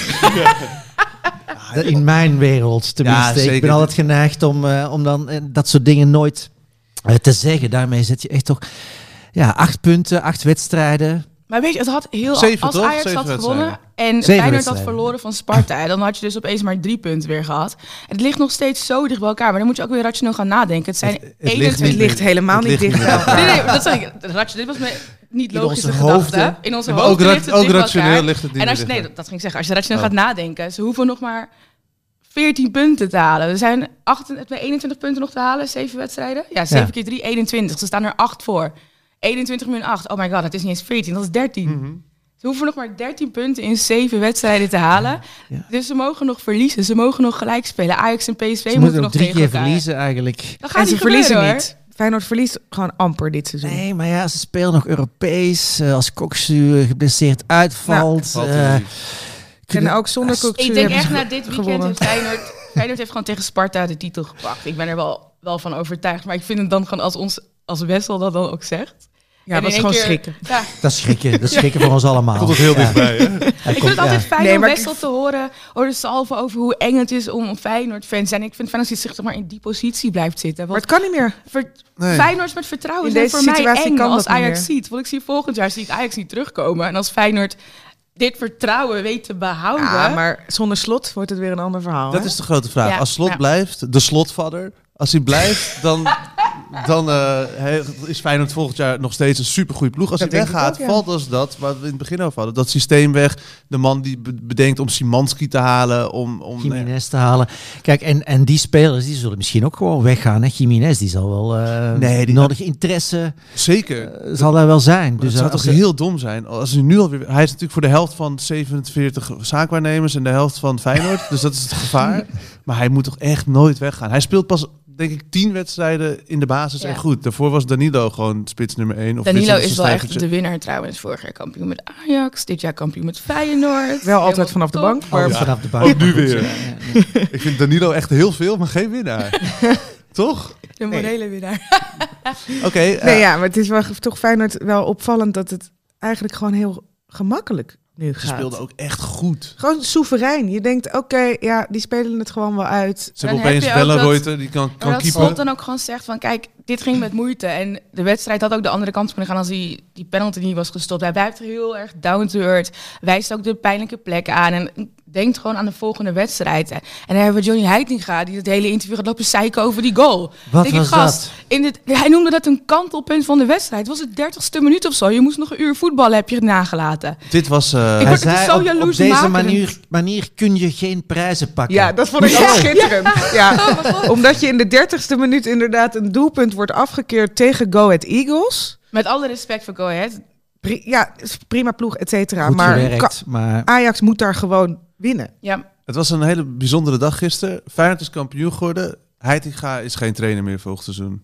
Speaker 4: Dat In mijn wereld
Speaker 5: Ja,
Speaker 4: tenminste.
Speaker 5: zeker.
Speaker 4: ik ben altijd geneigd om, eh, om dan eh, dat soort dingen nooit eh, te zeggen. Daarmee zet je echt toch ja, acht punten, acht wedstrijden.
Speaker 2: Maar weet je, het had heel...
Speaker 5: Zeven,
Speaker 2: als
Speaker 5: toch?
Speaker 2: Ajax
Speaker 5: Zeven
Speaker 2: had gewonnen en
Speaker 4: Zeven
Speaker 2: Feyenoord had
Speaker 4: wedstrijden.
Speaker 2: verloren van Sparta... dan had je dus opeens maar drie punten weer gehad. Het ligt nog steeds zo dicht bij elkaar. Maar dan moet je ook weer rationeel gaan nadenken. Het zijn
Speaker 5: Het- het ligt
Speaker 2: 21...
Speaker 3: Het
Speaker 5: Nee,
Speaker 3: ligt helemaal
Speaker 5: het
Speaker 3: niet
Speaker 5: ligt
Speaker 3: dicht bij
Speaker 5: niet.
Speaker 2: Nee,
Speaker 3: elkaar.
Speaker 2: nee, dat zeg ik. Ratio- dit was mijn niet
Speaker 4: In
Speaker 2: logische
Speaker 4: onze
Speaker 2: gedachte.
Speaker 4: hoofden.
Speaker 2: In onze
Speaker 5: Ja, maar ook,
Speaker 2: hoofden
Speaker 5: ra-
Speaker 2: ligt het
Speaker 5: ook
Speaker 2: dicht bij
Speaker 5: rationeel
Speaker 2: elkaar.
Speaker 5: ligt het niet
Speaker 2: En als je,
Speaker 5: meer
Speaker 2: nee, dat,
Speaker 5: dicht.
Speaker 2: dat ging ik zeggen. Als je rationeel
Speaker 5: Oh.
Speaker 2: gaat nadenken, ze hoeven nog maar 14 punten te halen. Er zijn 28, bij 21 punten nog te halen, 7 wedstrijden. Ja, 7
Speaker 4: Ja.
Speaker 2: keer 3, 21. Ze staan er 8 voor. 21 min 8. Oh my god, het is niet eens 14, dat is 13.
Speaker 5: Mhm.
Speaker 2: Ze hoeven nog maar 13 punten in 7 wedstrijden te halen.
Speaker 4: ja.
Speaker 2: Dus ze mogen nog verliezen. Ze mogen nog gelijk spelen. Ajax en PSV
Speaker 4: Ze
Speaker 2: moeten
Speaker 4: moeten
Speaker 2: nog
Speaker 4: nog drie
Speaker 2: tegen
Speaker 4: keer
Speaker 2: elkaar.
Speaker 4: verliezen eigenlijk.
Speaker 2: Dat gaat
Speaker 3: En ze
Speaker 2: niet
Speaker 3: verliezen
Speaker 2: gebeuren, hoor.
Speaker 3: niet. Feyenoord verliest gewoon amper dit seizoen.
Speaker 4: Nee, maar ja, ze spelen nog Europees. eh, als Koksu eh, geblesseerd uitvalt.
Speaker 5: Valt
Speaker 4: eh,
Speaker 5: er niet.
Speaker 3: En
Speaker 4: kunnen-
Speaker 3: ook zonder
Speaker 4: Ik
Speaker 3: Kukzu
Speaker 2: Ik denk
Speaker 3: hebben
Speaker 2: echt
Speaker 3: ze
Speaker 2: na dit weekend
Speaker 3: gewonnen.
Speaker 2: heeft Feyenoord, Feyenoord heeft gewoon tegen Sparta de titel gepakt. Ik ben er wel, wel van overtuigd. Maar ik vind het dan gewoon als ons als Wessel dat dan ook zegt.
Speaker 3: Ja,
Speaker 2: En
Speaker 3: dat
Speaker 2: in
Speaker 3: is
Speaker 2: één
Speaker 3: gewoon
Speaker 2: keer-
Speaker 3: schrikken.
Speaker 2: Ja,
Speaker 4: Dat is schrikken. Dat is schrikken voor ons allemaal.
Speaker 5: Komt het heel
Speaker 4: Ja.
Speaker 5: dichtbij, hè?
Speaker 4: Hij
Speaker 2: ik
Speaker 4: komt-
Speaker 2: vind het altijd
Speaker 4: ja.
Speaker 2: fijn
Speaker 3: Nee,
Speaker 2: om
Speaker 3: maar ik-
Speaker 2: Wessel te horen. Hoor de salven over hoe eng het is om een Feyenoord-fan te zijn. Ik vind Feyenoord die zich zeg maar in die positie blijft zitten.
Speaker 3: Maar
Speaker 2: Want
Speaker 3: het kan niet meer.
Speaker 2: ver-
Speaker 5: Nee.
Speaker 2: Feyenoord met vertrouwen
Speaker 3: In
Speaker 2: zijn
Speaker 3: deze
Speaker 2: voor mij
Speaker 3: situatie
Speaker 2: eng
Speaker 3: kan
Speaker 2: als
Speaker 3: dat niet
Speaker 2: Ajax
Speaker 3: meer.
Speaker 2: ziet. Want ik zie volgend jaar zie ik Ajax niet terugkomen. En als Feyenoord dit vertrouwen weet te behouden...
Speaker 3: Ja, maar zonder slot wordt het weer een ander verhaal.
Speaker 5: Dat
Speaker 3: Oh, hè?
Speaker 5: is de grote vraag.
Speaker 2: Ja,
Speaker 5: Als Slot
Speaker 2: ja.
Speaker 5: blijft, de slotvader, als hij blijft, dan, [laughs] dan eh, he- is Feyenoord volgend jaar nog steeds een supergoeie ploeg. Als
Speaker 3: Dat
Speaker 5: hij
Speaker 3: denk ik
Speaker 5: weggaat,
Speaker 3: ook, ja.
Speaker 5: valt als dat waar we in het begin over hadden. Dat systeem weg, de man die be- bedenkt om Simanski te halen, om... om
Speaker 4: Jiménez te halen. Kijk, en, en die spelers die zullen misschien ook gewoon weggaan. Hè? Jiménez, die zal wel eh
Speaker 5: Nee, die-
Speaker 4: nodig interesse
Speaker 5: Zeker.
Speaker 4: eh, zal daar wel zijn.
Speaker 5: Dus
Speaker 4: Dus
Speaker 5: het zou
Speaker 4: als
Speaker 5: toch
Speaker 4: ze-
Speaker 5: heel dom zijn als hij nu alweer... Hij is natuurlijk voor de helft van 47 zaakwaarnemers en de helft van Feyenoord. dus dat is het
Speaker 2: [laughs]
Speaker 5: gevaar. Maar hij moet toch echt nooit weggaan. Hij speelt pas, denk ik, 10 wedstrijden in de basis
Speaker 2: Ja.
Speaker 5: en goed. Daarvoor was Danilo gewoon spits nummer 1. Of
Speaker 2: Danilo
Speaker 5: Witsel
Speaker 2: is wel echt
Speaker 5: stijgertje.
Speaker 2: de winnaar trouwens. Vorig jaar kampioen met Ajax, dit jaar kampioen met Feyenoord.
Speaker 3: Wel altijd
Speaker 2: Helemaal
Speaker 3: vanaf de
Speaker 2: top.
Speaker 3: bank. Maar
Speaker 4: Alles vanaf de bank.
Speaker 5: Ook nu
Speaker 4: Maar goed,
Speaker 5: weer. [laughs]
Speaker 4: ja, ja, ja.
Speaker 5: Ik vind Danilo echt heel veel, maar geen
Speaker 2: [laughs]
Speaker 5: winnaar. toch?
Speaker 2: De morele winnaar.
Speaker 5: Oké. eh,
Speaker 3: Nee, ja, maar het is wel, toch Feyenoord wel opvallend dat het eigenlijk gewoon heel gemakkelijk nu
Speaker 5: Ze
Speaker 3: gaat.
Speaker 5: speelden ook echt goed.
Speaker 3: Gewoon soeverein. Je denkt, oké, ja, die spelen het gewoon wel uit.
Speaker 5: Ze
Speaker 2: Dan
Speaker 5: hebben opeens
Speaker 2: heb je ook
Speaker 5: Bellenreuter, die kan,
Speaker 2: Maar
Speaker 5: kan
Speaker 2: dat Slot
Speaker 5: keepen.
Speaker 2: dan ook gewoon zegt van kijk, dit ging met moeite. En de wedstrijd had ook de andere kant op kunnen gaan als die, die penalty niet was gestopt. Hij blijft heel erg down to earth. Wijst ook de pijnlijke plekken aan. En denkt gewoon aan de volgende wedstrijd. En dan hebben we Johnny Heitinga die het hele interview gaat lopen zeiken over die goal.
Speaker 4: Wat
Speaker 2: Denk ik,
Speaker 4: was
Speaker 2: gast,
Speaker 4: dat?
Speaker 2: In dit, hij noemde dat een kantelpunt van de wedstrijd. Het was het dertigste minuut of zo. Je moest nog een uur voetballen, heb je nagelaten.
Speaker 5: Dit was... eh,
Speaker 2: Ik
Speaker 4: Hij
Speaker 2: word
Speaker 4: zei,
Speaker 2: zo
Speaker 4: op- op,
Speaker 2: jaloers
Speaker 4: deze
Speaker 2: maken.
Speaker 4: manier, manier kun je geen prijzen pakken.
Speaker 3: Ja, dat vond ik ook schitterend. Ja. Omdat je in de dertigste minuut inderdaad een doelpunt wordt afgekeerd tegen Go Ahead Eagles.
Speaker 2: Met alle respect voor Go Ahead.
Speaker 3: Pri- ja, is prima ploeg, et cetera.
Speaker 4: Goed
Speaker 3: Maar
Speaker 4: gewerkt, maar
Speaker 3: Ka- Ajax moet daar gewoon winnen.
Speaker 2: Ja,
Speaker 5: Het was een hele bijzondere dag gisteren. Feyenoord is kampioen geworden. Heitinga is geen trainer meer volgend seizoen.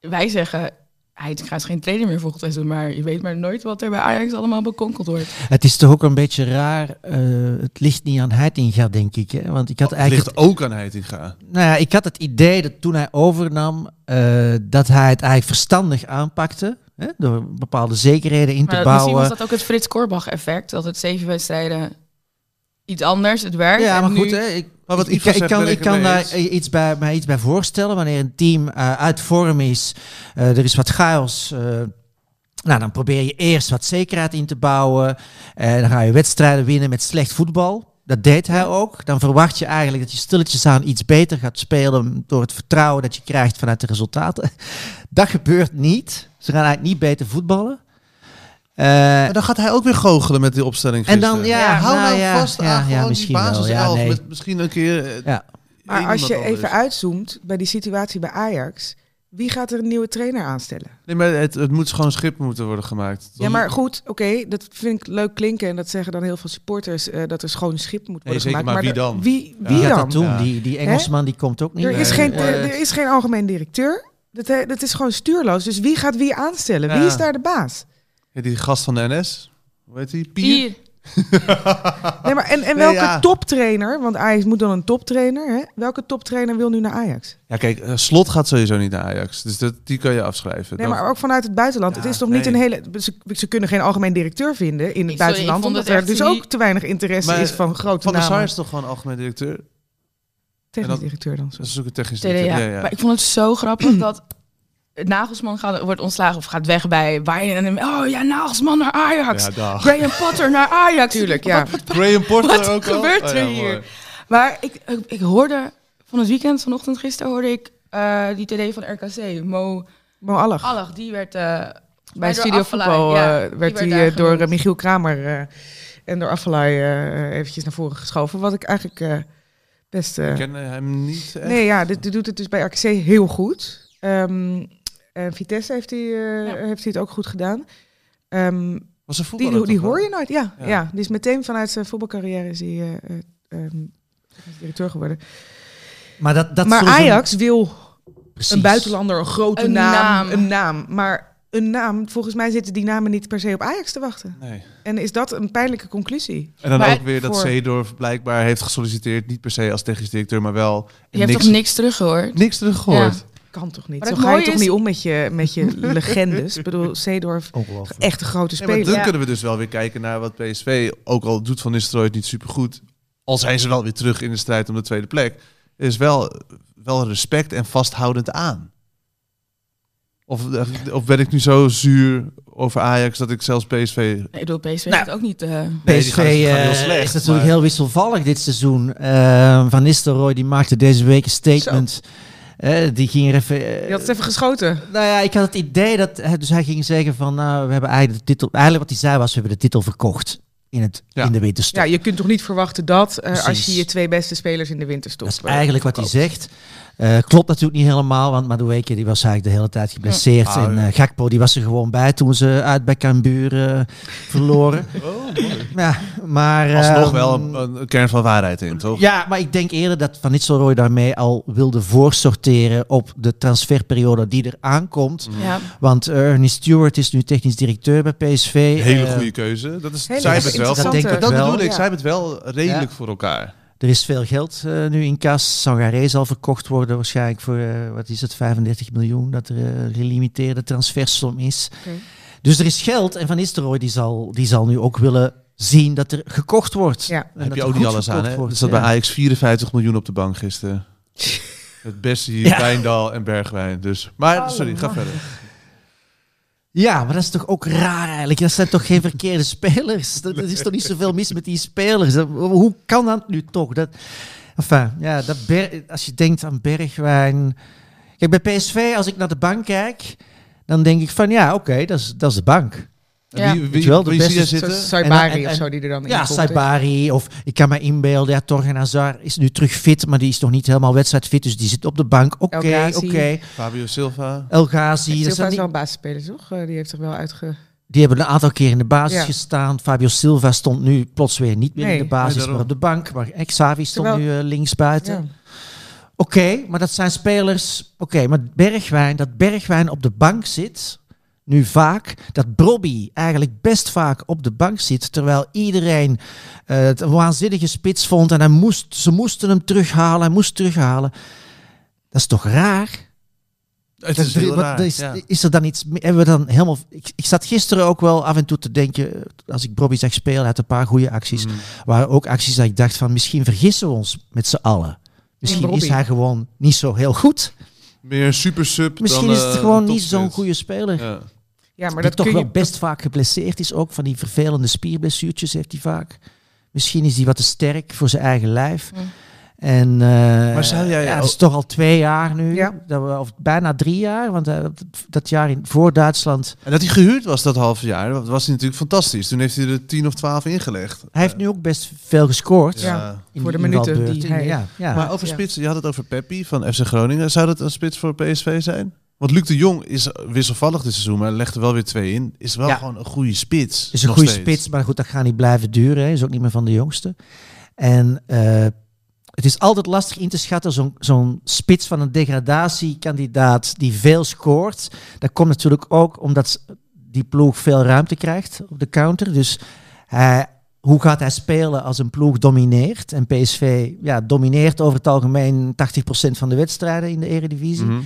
Speaker 2: wij zeggen... Hij gaat geen trainer meer volgend seizoen, maar je weet maar nooit wat er bij Ajax allemaal bekonkeld wordt.
Speaker 4: het is toch ook een beetje raar. eh, het ligt niet aan Heitinga, denk ik. Hè? Want ik had
Speaker 5: Het
Speaker 4: eigenlijk
Speaker 5: Oh, ligt ook aan Heitinga.
Speaker 4: Nou ja, ik had het idee dat toen hij overnam, eh, dat hij het eigenlijk verstandig aanpakte. Hè, door bepaalde zekerheden in te
Speaker 2: Maar dat- misschien
Speaker 4: bouwen.
Speaker 2: was dat ook het Frits Korbach effect. Dat het zeven wedstrijden iets anders, het werkt.
Speaker 4: ja,
Speaker 2: en
Speaker 4: maar
Speaker 2: nu-
Speaker 4: goed, hè, ik,
Speaker 5: Maar wat
Speaker 4: ik,
Speaker 5: Ivo
Speaker 4: ik
Speaker 5: zegt,
Speaker 4: kan,
Speaker 5: ben
Speaker 4: ik
Speaker 5: ik het
Speaker 4: kan
Speaker 5: mee
Speaker 4: daar
Speaker 5: eens.
Speaker 4: iets bij, mij iets bij voorstellen. Wanneer een team eh, uit vorm is, eh, er is wat chaos. eh, nou, dan probeer je eerst wat zekerheid in te bouwen. En dan ga je wedstrijden winnen met slecht voetbal. Dat deed hij ook. Dan verwacht je eigenlijk dat je stilletjes aan iets beter gaat spelen door het vertrouwen dat je krijgt vanuit de resultaten. [laughs] Dat gebeurt niet. Ze gaan eigenlijk niet beter voetballen. Eh,
Speaker 5: Maar dan gaat hij ook weer goochelen met die opstelling
Speaker 4: en
Speaker 5: gisteren.
Speaker 4: dan, ja,
Speaker 5: Hou
Speaker 4: nou
Speaker 5: nou
Speaker 4: ja,
Speaker 5: vast
Speaker 4: ja,
Speaker 5: aan
Speaker 4: ja,
Speaker 5: gewoon die
Speaker 4: misschien wel.
Speaker 5: basis
Speaker 4: Ja, nee.
Speaker 5: met misschien een keer... eh,
Speaker 4: ja.
Speaker 3: Maar
Speaker 5: één
Speaker 3: als je
Speaker 5: iemand
Speaker 3: even
Speaker 5: anders.
Speaker 3: uitzoomt bij die situatie bij Ajax, wie gaat er een nieuwe trainer aanstellen?
Speaker 5: Nee, maar het, het moet gewoon schip moeten worden gemaakt.
Speaker 3: Ja, maar goed, oké, dat vind ik leuk klinken en dat zeggen dan heel veel supporters eh, dat er schoon schip moet worden
Speaker 5: Nee, zeker,
Speaker 3: gemaakt.
Speaker 5: maar wie
Speaker 3: er-
Speaker 5: dan?
Speaker 3: Wie,
Speaker 5: Ja.
Speaker 3: wie
Speaker 4: Wie gaat
Speaker 3: dan?
Speaker 4: dat doen?
Speaker 5: Ja.
Speaker 4: Die, die Engelsman die komt ook niet.
Speaker 3: Er is,
Speaker 5: Nee,
Speaker 3: geen,
Speaker 5: eh,
Speaker 3: er, er is geen algemeen directeur. Dat, he- dat is gewoon stuurloos. Dus wie gaat wie aanstellen? Wie
Speaker 5: Ja.
Speaker 3: is daar de baas?
Speaker 5: Ja, die gast van de NS, hoe heet die? Pier?
Speaker 2: Hier,
Speaker 3: Nee, maar en, en welke
Speaker 5: ja.
Speaker 3: toptrainer, want Ajax moet dan een toptrainer, hè? welke toptrainer wil nu naar Ajax?
Speaker 5: Ja, kijk, eh, Slot gaat sowieso niet naar Ajax. Dus dat, die kan je afschrijven.
Speaker 3: Nee,
Speaker 5: Dan-
Speaker 3: maar ook vanuit het buitenland.
Speaker 5: Ja,
Speaker 3: het is toch niet
Speaker 5: nee.
Speaker 3: een hele. Ze, ze kunnen geen algemeen directeur vinden in
Speaker 2: Ik-
Speaker 3: het
Speaker 2: sorry, ik
Speaker 3: buitenland.
Speaker 2: vond
Speaker 3: Omdat
Speaker 2: het
Speaker 3: er
Speaker 2: echt
Speaker 3: dus
Speaker 2: niet-
Speaker 3: ook te weinig interesse
Speaker 5: Maar,
Speaker 3: is van grote
Speaker 5: Van der
Speaker 3: namen.
Speaker 5: Sar is toch gewoon algemeen directeur?
Speaker 3: Technisch
Speaker 5: en dan-
Speaker 3: directeur dan.
Speaker 5: Ze zoeken technisch
Speaker 2: TDA.
Speaker 5: directeur. Ja, ja.
Speaker 2: Maar ik vond het zo grappig dat Nagelsman gaat, wordt ontslagen of gaat weg bij Bayern. En oh ja, Nagelsman naar Ajax.
Speaker 5: Ja, dag.
Speaker 2: Graham [laughs] Potter naar Ajax.
Speaker 3: Tuurlijk, ja.
Speaker 5: Graham Porter
Speaker 2: Wat
Speaker 5: ook al?
Speaker 2: gebeurt
Speaker 5: Oh,
Speaker 2: er
Speaker 5: ja,
Speaker 2: hier?
Speaker 5: mooi.
Speaker 2: Maar ik, ik, ik hoorde van het weekend, vanochtend, gisteren, hoorde ik eh, die TD van RKC, Mo
Speaker 3: Mo Allag.
Speaker 2: Allag. Die werd eh, door
Speaker 3: Bij Studio
Speaker 2: Afellay,
Speaker 3: Voetbal
Speaker 2: ja,
Speaker 3: eh,
Speaker 2: die
Speaker 3: werd hij
Speaker 2: daar
Speaker 3: eh, door eh,
Speaker 2: genoemd.
Speaker 3: Michiel Kramer eh, en door Affelay eh, eventjes naar voren geschoven. Wat ik eigenlijk eh, best... eh,
Speaker 5: Ik ken hem niet echt.
Speaker 3: nee, ja, dit, dit doet het dus bij RKC heel goed. Ehm, en Vitesse heeft hij, eh,
Speaker 2: Ja.
Speaker 3: heeft hij het ook goed gedaan. Ehm,
Speaker 5: Was een voetballer
Speaker 3: die die
Speaker 5: toch wel?
Speaker 3: hoor je nooit, ja,
Speaker 5: Ja.
Speaker 3: ja. Die is meteen vanuit zijn voetbalcarrière is hij, eh, eh, ehm, technisch directeur geworden.
Speaker 4: Maar, dat, dat
Speaker 3: maar
Speaker 4: zullen ze-
Speaker 3: Ajax wil
Speaker 4: precies.
Speaker 3: een buitenlander, een grote
Speaker 2: Een
Speaker 3: naam,
Speaker 2: naam.
Speaker 3: een naam. Maar een naam, volgens mij zitten die namen niet per se op Ajax te wachten.
Speaker 5: Nee.
Speaker 3: En is dat een pijnlijke conclusie?
Speaker 5: En dan
Speaker 2: Maar
Speaker 5: ook weer dat
Speaker 3: voor-
Speaker 5: Zeedorf blijkbaar heeft gesolliciteerd. Niet per se als technisch directeur, maar wel.
Speaker 2: Je hebt
Speaker 5: niks,
Speaker 2: toch niks teruggehoord?
Speaker 5: niks teruggehoord.
Speaker 3: Kan toch niet?
Speaker 2: Maar
Speaker 3: Zo
Speaker 2: het
Speaker 3: ga je
Speaker 2: mooie
Speaker 3: toch
Speaker 2: is-
Speaker 3: niet om met je,
Speaker 2: [laughs]
Speaker 3: met je legendes? Ik bedoel, Seedorf,
Speaker 4: Ongelooflijk.
Speaker 3: echt een grote
Speaker 5: Nee, maar
Speaker 3: speler.
Speaker 5: dan
Speaker 2: Ja.
Speaker 5: kunnen we dus wel weer kijken naar wat PSV, ook al doet Van Nistelrooy het niet supergoed, al zijn ze wel weer terug in de strijd om de tweede plek, is wel, wel respect en vasthoudend aan. Of, eh, of ben ik nu zo zuur over Ajax dat ik zelfs PSV...
Speaker 2: Nee, ik bedoel, PSV
Speaker 5: Nou.
Speaker 2: heeft ook niet... eh,
Speaker 5: Nee, die
Speaker 4: PSV
Speaker 5: gaan- die gaan heel
Speaker 4: eh,
Speaker 5: slecht,
Speaker 4: is natuurlijk
Speaker 5: maar-
Speaker 4: heel wisselvallig dit seizoen. Eh, Van Nistelrooy die maakte deze week een statement. Eh, die ging er even... eh,
Speaker 3: Je had het even geschoten.
Speaker 4: Nou ja, ik had het idee dat... hij- Dus hij ging zeggen van... Nou, we hebben eigenlijk de titel... Eigenlijk wat hij zei was... We hebben de titel verkocht in, het,
Speaker 5: Ja.
Speaker 4: in de winterstop.
Speaker 3: Ja, je kunt toch niet verwachten dat eh, als
Speaker 4: Precies.
Speaker 3: je je twee beste spelers in de winter stopt.
Speaker 4: Dat is eigenlijk wat hij zegt. Eh, klopt natuurlijk niet helemaal, want Madueke die was eigenlijk de hele tijd geblesseerd.
Speaker 5: Ah,
Speaker 4: en
Speaker 5: ja.
Speaker 4: eh, Gakpo die was er gewoon bij toen ze uit bij Cambuur eh,
Speaker 5: [laughs]
Speaker 4: verloren. ja, maar, eh,
Speaker 5: Oh, Alsnog wel een, een kern van waarheid in, toch?
Speaker 4: Ja, maar ik denk eerder dat Van Nistelrooy daarmee al wilde voorsorteren op de transferperiode die er
Speaker 5: Mm.
Speaker 4: aankomt.
Speaker 2: ja.
Speaker 4: Want eh, Ernie Stewart is nu technisch directeur bij PSV.
Speaker 5: Hele
Speaker 4: Eh,
Speaker 5: goede keuze. Dat is,
Speaker 3: Hele
Speaker 5: zij hebben het wel.
Speaker 3: interessante-
Speaker 5: voor-
Speaker 4: Dat denk ik
Speaker 5: Dat
Speaker 4: wel.
Speaker 5: bedoel ik,
Speaker 3: Ja.
Speaker 5: zij hebben het wel redelijk voor elkaar.
Speaker 4: Er is veel geld eh, nu in kas. Sangaré zal verkocht worden waarschijnlijk voor, eh, wat is het, 35 miljoen. Dat er eh, een gelimiteerde transfersom is.
Speaker 3: Oké.
Speaker 4: Dus er is geld en Van Nistelrooy die zal, die zal nu ook willen zien dat er gekocht wordt.
Speaker 3: Ja.
Speaker 4: En
Speaker 5: heb
Speaker 4: dat
Speaker 5: je
Speaker 4: er
Speaker 5: ook niet
Speaker 4: goed
Speaker 5: alles aan,
Speaker 4: verkocht
Speaker 5: hè?
Speaker 4: wordt,
Speaker 5: Er zat
Speaker 4: ja.
Speaker 5: bij Ajax 54 miljoen op de bank
Speaker 4: [laughs]
Speaker 5: gisteren. Het beste hier,
Speaker 4: Ja.
Speaker 5: Wijndal en Bergwijn. Dus. Maar, sorry, ga verder.
Speaker 4: Ja, maar dat is toch ook raar eigenlijk. Dat zijn toch geen verkeerde spelers? Dat, dat is toch niet zoveel mis met die spelers? Dat- hoe kan dat nu toch? Dat, enfin, ja, dat Ber- als je denkt aan Bergwijn... Kijk, bij PSV, als ik naar de bank kijk... dan denk ik van, ja, oké, dat is- dat is de bank.
Speaker 2: Ja.
Speaker 5: Wie,
Speaker 4: Weet
Speaker 5: wie,
Speaker 4: je wel, de
Speaker 5: wie zie jij
Speaker 4: beste-
Speaker 5: zitten?
Speaker 3: Zoals eh, Saibari
Speaker 4: En- en-
Speaker 3: of zo die er dan in
Speaker 4: Ja,
Speaker 3: komt, hè?
Speaker 4: Saibari of ik kan me inbeelden, ja, Torgen Hazard is nu terug fit, maar die is nog niet helemaal wedstrijdfit, dus die zit op de bank. Oké,
Speaker 3: El Ghazi.
Speaker 4: oké.
Speaker 5: Fabio Silva.
Speaker 4: El Ghazi, dat
Speaker 3: Silva
Speaker 4: zijn
Speaker 3: is
Speaker 4: die,
Speaker 3: wel een basisspeler, toch? Eh, die heeft zich wel uitge...
Speaker 4: die hebben een aantal keer in de basis
Speaker 3: Ja.
Speaker 4: gestaan. Fabio Silva stond nu plots weer niet meer
Speaker 3: Nee.
Speaker 4: in de basis,
Speaker 5: Nee, daarom.
Speaker 4: maar op de bank. Maar eh, Xavi stond
Speaker 3: Terwijl-
Speaker 4: nu eh, linksbuiten.
Speaker 3: Ja.
Speaker 4: Oké, maar dat zijn spelers. Oké, maar Bergwijn, dat Bergwijn op de bank zit, nu vaak, dat Brobby eigenlijk best vaak op de bank zit, terwijl iedereen eh, het een waanzinnige spits vond en hij moest, ze moesten hem terughalen, hij moest terughalen. Dat is toch raar?
Speaker 5: Het is
Speaker 4: Dat-
Speaker 5: heel
Speaker 4: wat-
Speaker 5: raar,
Speaker 4: dat is,
Speaker 5: ja.
Speaker 4: is er dan iets? mee- Hebben we dan helemaal? Ik, ik zat gisteren ook wel af en toe te denken, als ik Brobby zag spelen, hij had een paar goede acties,
Speaker 5: Mm.
Speaker 4: waren ook acties dat ik dacht van, misschien vergissen we ons met z'n allen. Misschien is
Speaker 3: Brobby.
Speaker 4: hij gewoon niet zo heel goed.
Speaker 5: Meer super sub.
Speaker 4: Misschien
Speaker 5: dan,
Speaker 4: is het
Speaker 5: eh,
Speaker 4: gewoon
Speaker 5: een
Speaker 4: niet zo'n
Speaker 5: topspits.
Speaker 4: goede speler.
Speaker 5: Ja.
Speaker 3: ja, maar
Speaker 4: die
Speaker 3: dat
Speaker 4: toch
Speaker 3: kun
Speaker 4: wel
Speaker 3: je...
Speaker 4: best vaak geblesseerd is ook. Van die vervelende spierblessuurtjes heeft hij vaak. Misschien is hij wat te sterk voor zijn eigen lijf.
Speaker 3: Hmm.
Speaker 2: Mm.
Speaker 4: En, eh,
Speaker 5: Maar zou jij
Speaker 4: ja,
Speaker 5: ook-
Speaker 4: dat is toch al twee jaar nu.
Speaker 3: Ja.
Speaker 4: Dat we, of bijna drie jaar. Want eh, dat- dat jaar in, voor Duitsland.
Speaker 5: En dat hij gehuurd was dat halve jaar, dat was natuurlijk fantastisch. Toen heeft hij er 10 of 12 ingelegd.
Speaker 4: Hij heeft nu ook best veel gescoord.
Speaker 3: Ja.
Speaker 4: in
Speaker 3: voor de
Speaker 4: die
Speaker 3: minuten
Speaker 4: invalbeurt.
Speaker 3: die
Speaker 4: In-
Speaker 3: hij-
Speaker 4: Ja, ja.
Speaker 5: Maar over
Speaker 3: Ja.
Speaker 5: spitsen, je had het over Peppi van FC Groningen. Zou dat een spits voor PSV zijn? Want Luc de Jong is wisselvallig dit seizoen, maar legt er wel weer twee in. Is wel
Speaker 4: Ja.
Speaker 5: gewoon een goede spits.
Speaker 4: Is een
Speaker 5: nog
Speaker 4: goede
Speaker 5: steeds.
Speaker 4: spits, maar goed, dat gaat niet blijven duren. Hè. Is ook niet meer van de jongste. En eh, het is altijd lastig in te schatten. Zo'n zo'n spits van een degradatiekandidaat die veel scoort. Dat komt natuurlijk ook omdat s- die ploeg veel ruimte krijgt op de counter. Dus hij- hoe gaat hij spelen als een ploeg domineert? En PSV ja, domineert over het algemeen 80% van de wedstrijden in de Eredivisie.
Speaker 5: Mhm.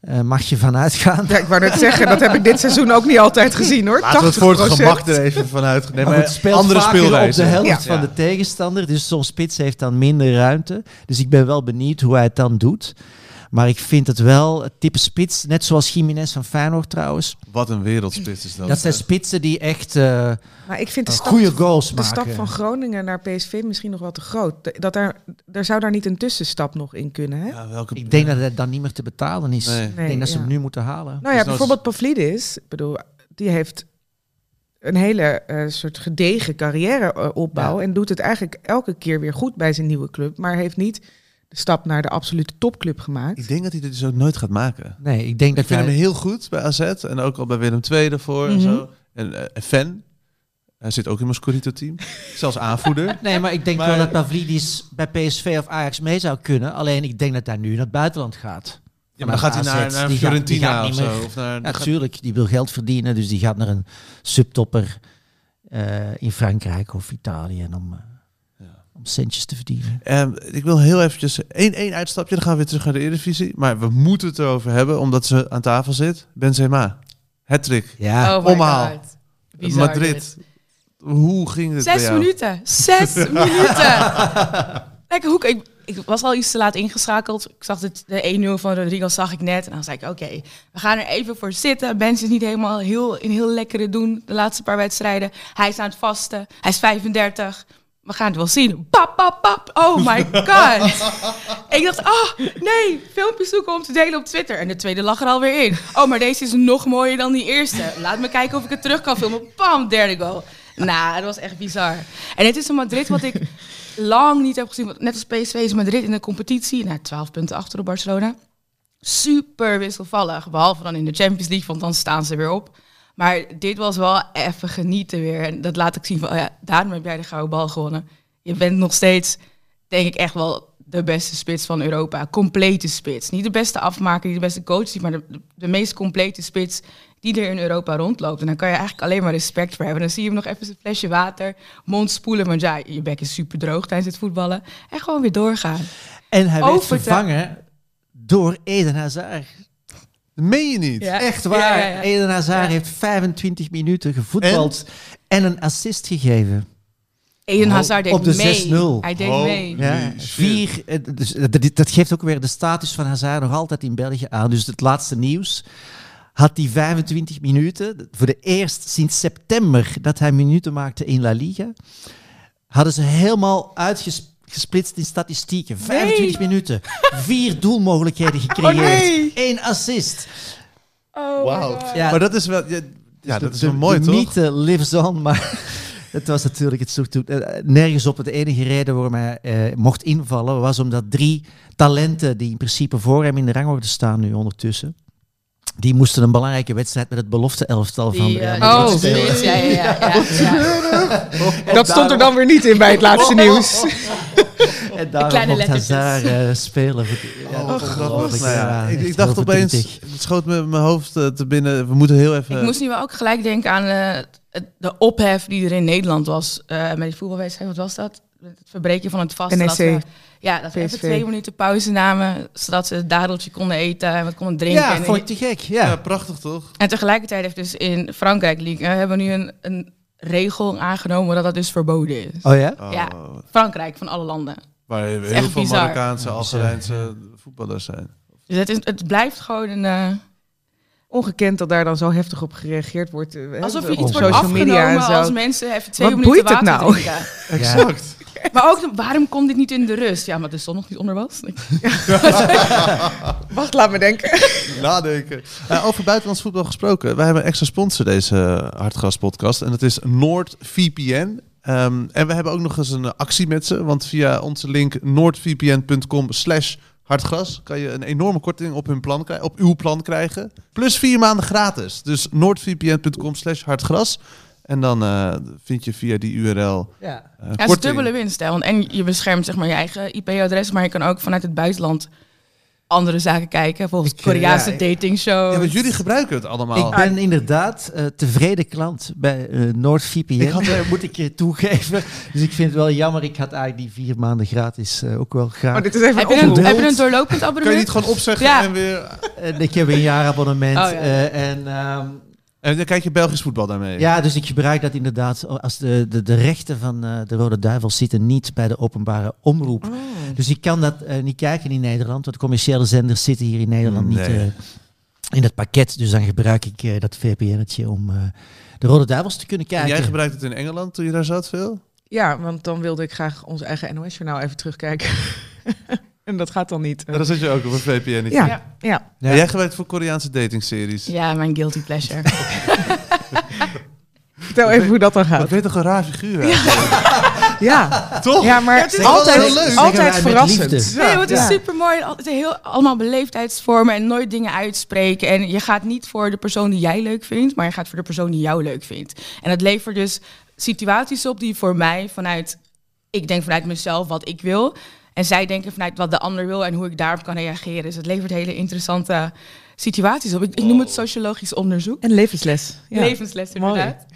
Speaker 4: Eh, mag je van uitgaan.
Speaker 3: Ja, ik wou net zeggen, dat heb ik dit seizoen ook niet altijd gezien, hoor.
Speaker 5: Laten we het
Speaker 3: 80%.
Speaker 5: voor het gemak er even vanuit. Nee,
Speaker 4: maar
Speaker 5: maar
Speaker 4: het speelt
Speaker 5: andere
Speaker 4: vaker
Speaker 5: speelwijze.
Speaker 4: op de helft
Speaker 3: Ja.
Speaker 4: van de tegenstander. Dus zo'n spits heeft dan minder ruimte. Dus ik ben wel benieuwd hoe hij het dan doet. Maar ik vind het wel het type spits, net zoals Jiménez van Feyenoord trouwens.
Speaker 5: Wat een wereldspits is dat.
Speaker 4: Dat zijn spitsen die echt eh,
Speaker 3: Maar ik vind de stap,
Speaker 4: goede goals
Speaker 3: de
Speaker 4: maken.
Speaker 3: stap van Groningen naar PSV misschien nog wel te groot. De- Dat daar, daar zou daar niet een tussenstap nog in kunnen, hè?
Speaker 5: Ja, welke...
Speaker 4: Ik denk dat het dan niet meer te betalen is.
Speaker 5: Nee.
Speaker 4: Ik denk dat ze hem
Speaker 3: ja.
Speaker 4: nu moeten halen.
Speaker 3: Nou ja,
Speaker 5: Dus dat is-
Speaker 3: bijvoorbeeld Pavlidis, ik bedoel, die heeft een hele eh, soort gedegen carrière eh, opbouw en doet het eigenlijk elke keer weer goed bij zijn nieuwe club, maar heeft niet de stap naar de absolute topclub gemaakt.
Speaker 5: Ik denk dat hij dit dus ook nooit gaat maken.
Speaker 4: Nee, ik denk
Speaker 5: Ik
Speaker 4: dat
Speaker 5: vind
Speaker 4: hij...
Speaker 5: hem heel goed bij AZ en ook al bij Willem II daarvoor
Speaker 3: Mhm.
Speaker 5: en zo. En eh, een fan. Hij zit ook in mijn Scorito-team. Zelfs aanvoerder.
Speaker 4: Nee, maar ik denk
Speaker 5: Maar-
Speaker 4: wel dat Pavlidis bij PSV of Ajax mee zou kunnen. Alleen ik denk dat hij nu naar het buitenland gaat.
Speaker 5: Ja, maar dan gaat hij naar,
Speaker 4: assets,
Speaker 5: naar
Speaker 4: die gaat- die
Speaker 5: Fiorentina
Speaker 4: gaat
Speaker 5: of
Speaker 4: niet meer.
Speaker 5: zo. Of naar,
Speaker 4: Ja,
Speaker 5: gaat-
Speaker 4: tuurlijk, die wil geld verdienen, dus die gaat naar een subtopper eh, in Frankrijk of Italië om, eh,
Speaker 5: Ja.
Speaker 4: om centjes te verdienen.
Speaker 5: Ehm, ik wil heel eventjes één, één uitstapje, dan gaan we weer terug naar de Eredivisie. Maar we moeten het erover hebben, omdat ze aan tafel zit. Benzema, hattrick,
Speaker 4: Ja,
Speaker 2: oh my
Speaker 5: omhaal.
Speaker 2: god. Bizar dit.
Speaker 5: Madrid. Hoe ging dit bij
Speaker 2: Zes
Speaker 5: jou?
Speaker 2: minuten.
Speaker 5: [laughs]
Speaker 2: Zes minuten. Lekker hoek. Ik, ik was al iets te laat ingeschakeld. Ik zag dit, de 1-0 van Rodriguez zag ik net. En dan zei ik, oké, we gaan er even voor zitten. Benz is niet helemaal heel, in heel lekkere doen de laatste paar wedstrijden. Hij is aan het vasten. Hij is 35. We gaan het wel zien. Pap, pap, pap. Oh
Speaker 5: [laughs]
Speaker 2: my god. ik dacht, ah, nee. Filmpjes zoeken om te delen op Twitter. En de tweede lag er alweer in. Oh, maar deze is nog mooier dan die eerste. Laat me kijken of ik het terug kan filmen. Pam, derde goal. Nou, het was echt bizar. En het is een Madrid wat ik lang niet heb gezien. Want net als PSV is Madrid in de competitie. Nou, 12 punten achter op Barcelona. Super wisselvallig. Behalve dan in de Champions League, want dan staan ze weer op. Maar dit was wel even genieten weer. En dat laat ik zien van, oh ja, daarom heb jij de gouden bal gewonnen. Je bent nog steeds, denk ik, echt wel de beste spits van Europa. Complete spits. Niet de beste afmaker, niet de beste coach, maar de, de meest complete spits die er in Europa rondloopt. En dan kan je eigenlijk alleen maar respect voor hebben. Dan zie je hem nog even zijn flesje water, mond spoelen. Want ja, je bek is super droog tijdens het voetballen. En gewoon weer doorgaan.
Speaker 4: en hij werd
Speaker 2: Overtuig-
Speaker 4: vervangen door Eden Hazard.
Speaker 5: Dat meen je niet.
Speaker 2: Ja.
Speaker 4: Echt waar.
Speaker 2: Ja, ja, ja.
Speaker 4: Eden Hazard
Speaker 2: Ja.
Speaker 4: heeft 25 minuten gevoetbald en een assist gegeven.
Speaker 2: Eden
Speaker 5: Oh,
Speaker 2: Hazard deed
Speaker 4: op de
Speaker 2: mee.
Speaker 4: 6-0.
Speaker 2: Hij deed
Speaker 5: Oh.
Speaker 2: mee.
Speaker 4: Ja,
Speaker 5: Holy shit.
Speaker 4: vier, eh, dus, eh, dat, dat geeft ook weer de status van Hazard nog altijd in België aan. Dus het laatste nieuws had die 25 minuten, voor de eerst sinds september dat hij minuten maakte in La Liga, hadden ze helemaal uitgesplitst in statistieken. 25 minuten, vier doelmogelijkheden gecreëerd,
Speaker 2: nee.
Speaker 4: één assist.
Speaker 2: Oh
Speaker 5: Wauw.
Speaker 4: Ja,
Speaker 5: Maar dat is wel... Ja,
Speaker 4: Dus de-
Speaker 5: ja, dat is wel
Speaker 4: de-
Speaker 5: mooi,
Speaker 4: de
Speaker 5: toch?
Speaker 4: mythe lives on, maar [laughs] het was natuurlijk het soort... toe- eh, Nergens op het enige reden waarom hij eh, mocht invallen was omdat drie talenten die in principe voor hem in de rangorde staan nu ondertussen, die moesten een belangrijke wedstrijd met het belofte elftal van
Speaker 2: Die,
Speaker 4: Real
Speaker 2: eh,
Speaker 4: Madrid
Speaker 2: oh,
Speaker 4: spelen.
Speaker 2: precies. ja, ja, ja,
Speaker 4: [laughs]
Speaker 2: ja, ja.
Speaker 3: Dat stond er dan weer niet in bij het
Speaker 2: Oh,
Speaker 3: laatste nieuws. [laughs]
Speaker 4: En daarom
Speaker 2: kleine
Speaker 4: mocht
Speaker 2: lettertjes.
Speaker 4: Hazard eh, spelen. Ja,
Speaker 5: Oh, grappig.
Speaker 4: ongelooflijk,
Speaker 5: Nou ja,
Speaker 4: ja,
Speaker 5: ik, ik
Speaker 4: echt
Speaker 5: dacht
Speaker 4: heel
Speaker 5: opeens,
Speaker 4: verdrietig.
Speaker 5: het schoot me in mijn hoofd eh, te binnen. We moeten heel
Speaker 3: Eh,
Speaker 5: even...
Speaker 2: Ik moest nu wel ook gelijk denken aan eh, het- de ophef die er in Nederland was eh, met die voetbalwedstrijd. Wat was dat? Met Het verbreken van het vaste.
Speaker 3: NEC.
Speaker 2: Dat we, ja, dat we even
Speaker 3: PSV.
Speaker 2: twee minuten pauze namen, zodat ze het dadeltje konden eten en wat konden drinken.
Speaker 4: Ja,
Speaker 2: en,
Speaker 4: vond ik te gek. Ja.
Speaker 5: ja, prachtig toch?
Speaker 2: en tegelijkertijd heeft dus in Frankrijk League, eh, hebben we nu een, een regel aangenomen dat dat dus verboden is.
Speaker 4: Oh ja?
Speaker 5: Oh,
Speaker 2: Ja. Frankrijk, van alle landen.
Speaker 5: Waar heel
Speaker 2: echt
Speaker 5: veel
Speaker 2: bizar.
Speaker 5: Marokkaanse,
Speaker 4: Ja, bizar.
Speaker 5: Algerijnse voetballers zijn.
Speaker 2: Dus het, is, het blijft gewoon een... eh,
Speaker 3: Ongekend dat daar dan zo heftig op gereageerd wordt. eh, hè,
Speaker 2: Alsof
Speaker 3: op
Speaker 2: je iets wordt
Speaker 4: social
Speaker 2: afgenomen als mensen even twee
Speaker 3: Wat
Speaker 2: minuten
Speaker 3: boeit het
Speaker 2: water
Speaker 3: nou?
Speaker 2: drinken.
Speaker 5: Exact.
Speaker 2: Maar ook, de- waarom komt dit niet in de rust? Ja, omdat de zon nog niet onder was.
Speaker 3: Wacht, laat me denken.
Speaker 5: [laughs] Nadenken. Eh, over buitenlands voetbal gesproken. Wij hebben een extra sponsor deze eh, Hartgras podcast. En dat is NoordVPN. Ehm, en we hebben ook nog eens een eh, actie met ze. Want via onze link noordvpn.com slash hartgras kan je een enorme korting op, hun plan krijgen, op uw plan krijgen. Plus vier maanden gratis. Dus noordvpn.com slash hartgras. En dan eh, vind je via die URL
Speaker 4: Ja.
Speaker 5: eh,
Speaker 2: Ja, het is
Speaker 5: korting.
Speaker 2: dubbele winst. Hè? Want en je beschermt zeg maar, je eigen IP-adres, maar je kan ook vanuit het buitenland andere zaken kijken. Volgens
Speaker 4: Ik, eh,
Speaker 2: Koreaanse
Speaker 4: ja, ik-
Speaker 2: datingshows.
Speaker 5: Ja, want jullie gebruiken het allemaal.
Speaker 4: Ik ben inderdaad eh, tevreden klant bij eh NoordVPN,
Speaker 5: Ik had-
Speaker 4: eh, moet ik eh, toegeven. [laughs] Dus ik vind het wel jammer. Ik had eigenlijk die vier maanden gratis eh, ook wel graag.
Speaker 3: Oh, dit is even
Speaker 2: heb,
Speaker 3: een
Speaker 2: je een,
Speaker 3: oproep.
Speaker 2: heb je een doorlopend
Speaker 5: Kan je niet
Speaker 2: abonnement?
Speaker 5: gewoon opzeggen
Speaker 2: Ja.
Speaker 5: en weer...
Speaker 4: En Eh, ik heb een jaarabonnement.
Speaker 2: Oh, ja.
Speaker 4: eh, en, ehm,
Speaker 5: En dan kijk je Belgisch voetbal daarmee.
Speaker 4: ja, dus ik gebruik dat inderdaad als de, de, de rechten van eh, de Rode Duivels zitten niet bij de openbare omroep. Dus ik kan dat eh, niet kijken in Nederland, want commerciële zenders zitten hier in Nederland niet
Speaker 5: Nee.
Speaker 4: eh, in het pakket. Dus dan gebruik ik eh, dat VPN-tje om eh, de Rode Duivels te kunnen
Speaker 5: En
Speaker 4: kijken.
Speaker 5: jij gebruikt het in Engeland toen je daar zat veel?
Speaker 3: Ja, want dan wilde ik graag ons eigen NOS-journaal even terugkijken. [laughs] en dat gaat dan niet.
Speaker 5: Dan zat je ook op een VPN.
Speaker 3: Ja,
Speaker 2: Ja.
Speaker 3: ja.
Speaker 4: Ja.
Speaker 5: Jij gebruikt voor Koreaanse datingseries.
Speaker 2: Ja, mijn guilty pleasure.
Speaker 3: vertel even hoe dat dan
Speaker 5: Dat
Speaker 3: gaat.
Speaker 5: ben je toch een raar figuur?
Speaker 3: Ja,
Speaker 5: Toch?
Speaker 3: ja maar
Speaker 5: is wel heel
Speaker 3: altijd,
Speaker 5: leuk.
Speaker 4: Zeggen wij
Speaker 3: altijd
Speaker 4: met
Speaker 3: verrassend.
Speaker 4: liefde.
Speaker 2: Nee, want het is
Speaker 3: Ja.
Speaker 2: super mooi. Heel, allemaal beleefdheidsvormen en nooit dingen uitspreken. En je gaat niet voor de persoon die jij leuk vindt, maar je gaat voor de persoon die jou leuk vindt. En het levert dus situaties op die voor mij vanuit, ik denk vanuit mezelf wat ik wil. En zij denken vanuit wat de ander wil en hoe ik daarop kan reageren. Dus het levert hele interessante situaties op. Ik, ik noem het sociologisch onderzoek.
Speaker 3: En levensles. Oh. Ja.
Speaker 2: Levensles
Speaker 3: Mooi. [laughs]
Speaker 2: inderdaad.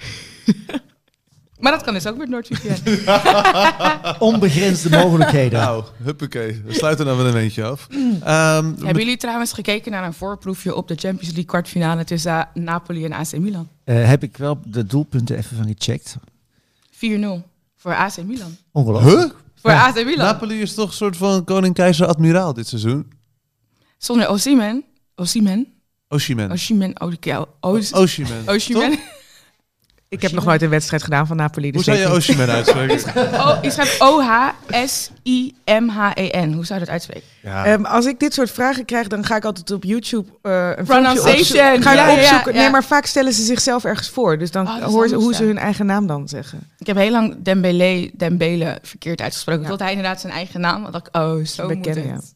Speaker 2: maar dat kan dus ook met NordVPN.
Speaker 4: Onbegrensde mogelijkheden.
Speaker 5: Nou, huppakee. We sluiten dan wel een eentje af. Ehm,
Speaker 2: Hebben jullie trouwens gekeken naar een voorproefje op de Champions League kwartfinale tussen eh, Napoli en AC Milan?
Speaker 4: Eh, heb ik wel de doelpunten even van gecheckt.
Speaker 2: 4-0 voor AC Milan.
Speaker 4: Ongelooflijk.
Speaker 5: Huh?
Speaker 2: Voor
Speaker 4: Ja,
Speaker 2: AC Milan.
Speaker 5: Napoli is toch een soort van koning-keizer-admiraal dit seizoen?
Speaker 2: Zonder Osimhen. Osimhen.
Speaker 5: Oshiman.
Speaker 2: Osimhen. oh, Osimhen. Osimhen.
Speaker 5: Oshiman.
Speaker 2: Osimhen.
Speaker 3: Ik heb nog nooit een wedstrijd gedaan van Napoli.
Speaker 5: Hoe
Speaker 3: dus
Speaker 5: zou
Speaker 3: weet
Speaker 5: je
Speaker 3: ik
Speaker 5: Oshiman uitspreken?
Speaker 2: [laughs] Oh, je schrijft O-H-S-I-M-H-E-N. E Hoe zou je dat uitspreken?
Speaker 5: Ja.
Speaker 3: niet. Ehm, als ik dit soort vragen krijg, dan ga ik altijd op YouTube eh een
Speaker 2: Pronunciation.
Speaker 3: filmpje opzoeken. Ga ik
Speaker 2: Ja, ja,
Speaker 3: opzoeken.
Speaker 2: ja.
Speaker 3: Nee, maar vaak stellen ze zichzelf ergens voor. Dus dan
Speaker 2: Oh, dat is
Speaker 3: hoor ze
Speaker 2: anders,
Speaker 3: hoe
Speaker 2: ja.
Speaker 3: ze hun eigen naam dan zeggen.
Speaker 2: Ik heb heel lang Dembele, Dembele verkeerd uitgesproken.
Speaker 3: Ja.
Speaker 2: Tot hij inderdaad zijn eigen naam had. dacht ik, Oh, zo moet
Speaker 3: Bekennen,
Speaker 2: het.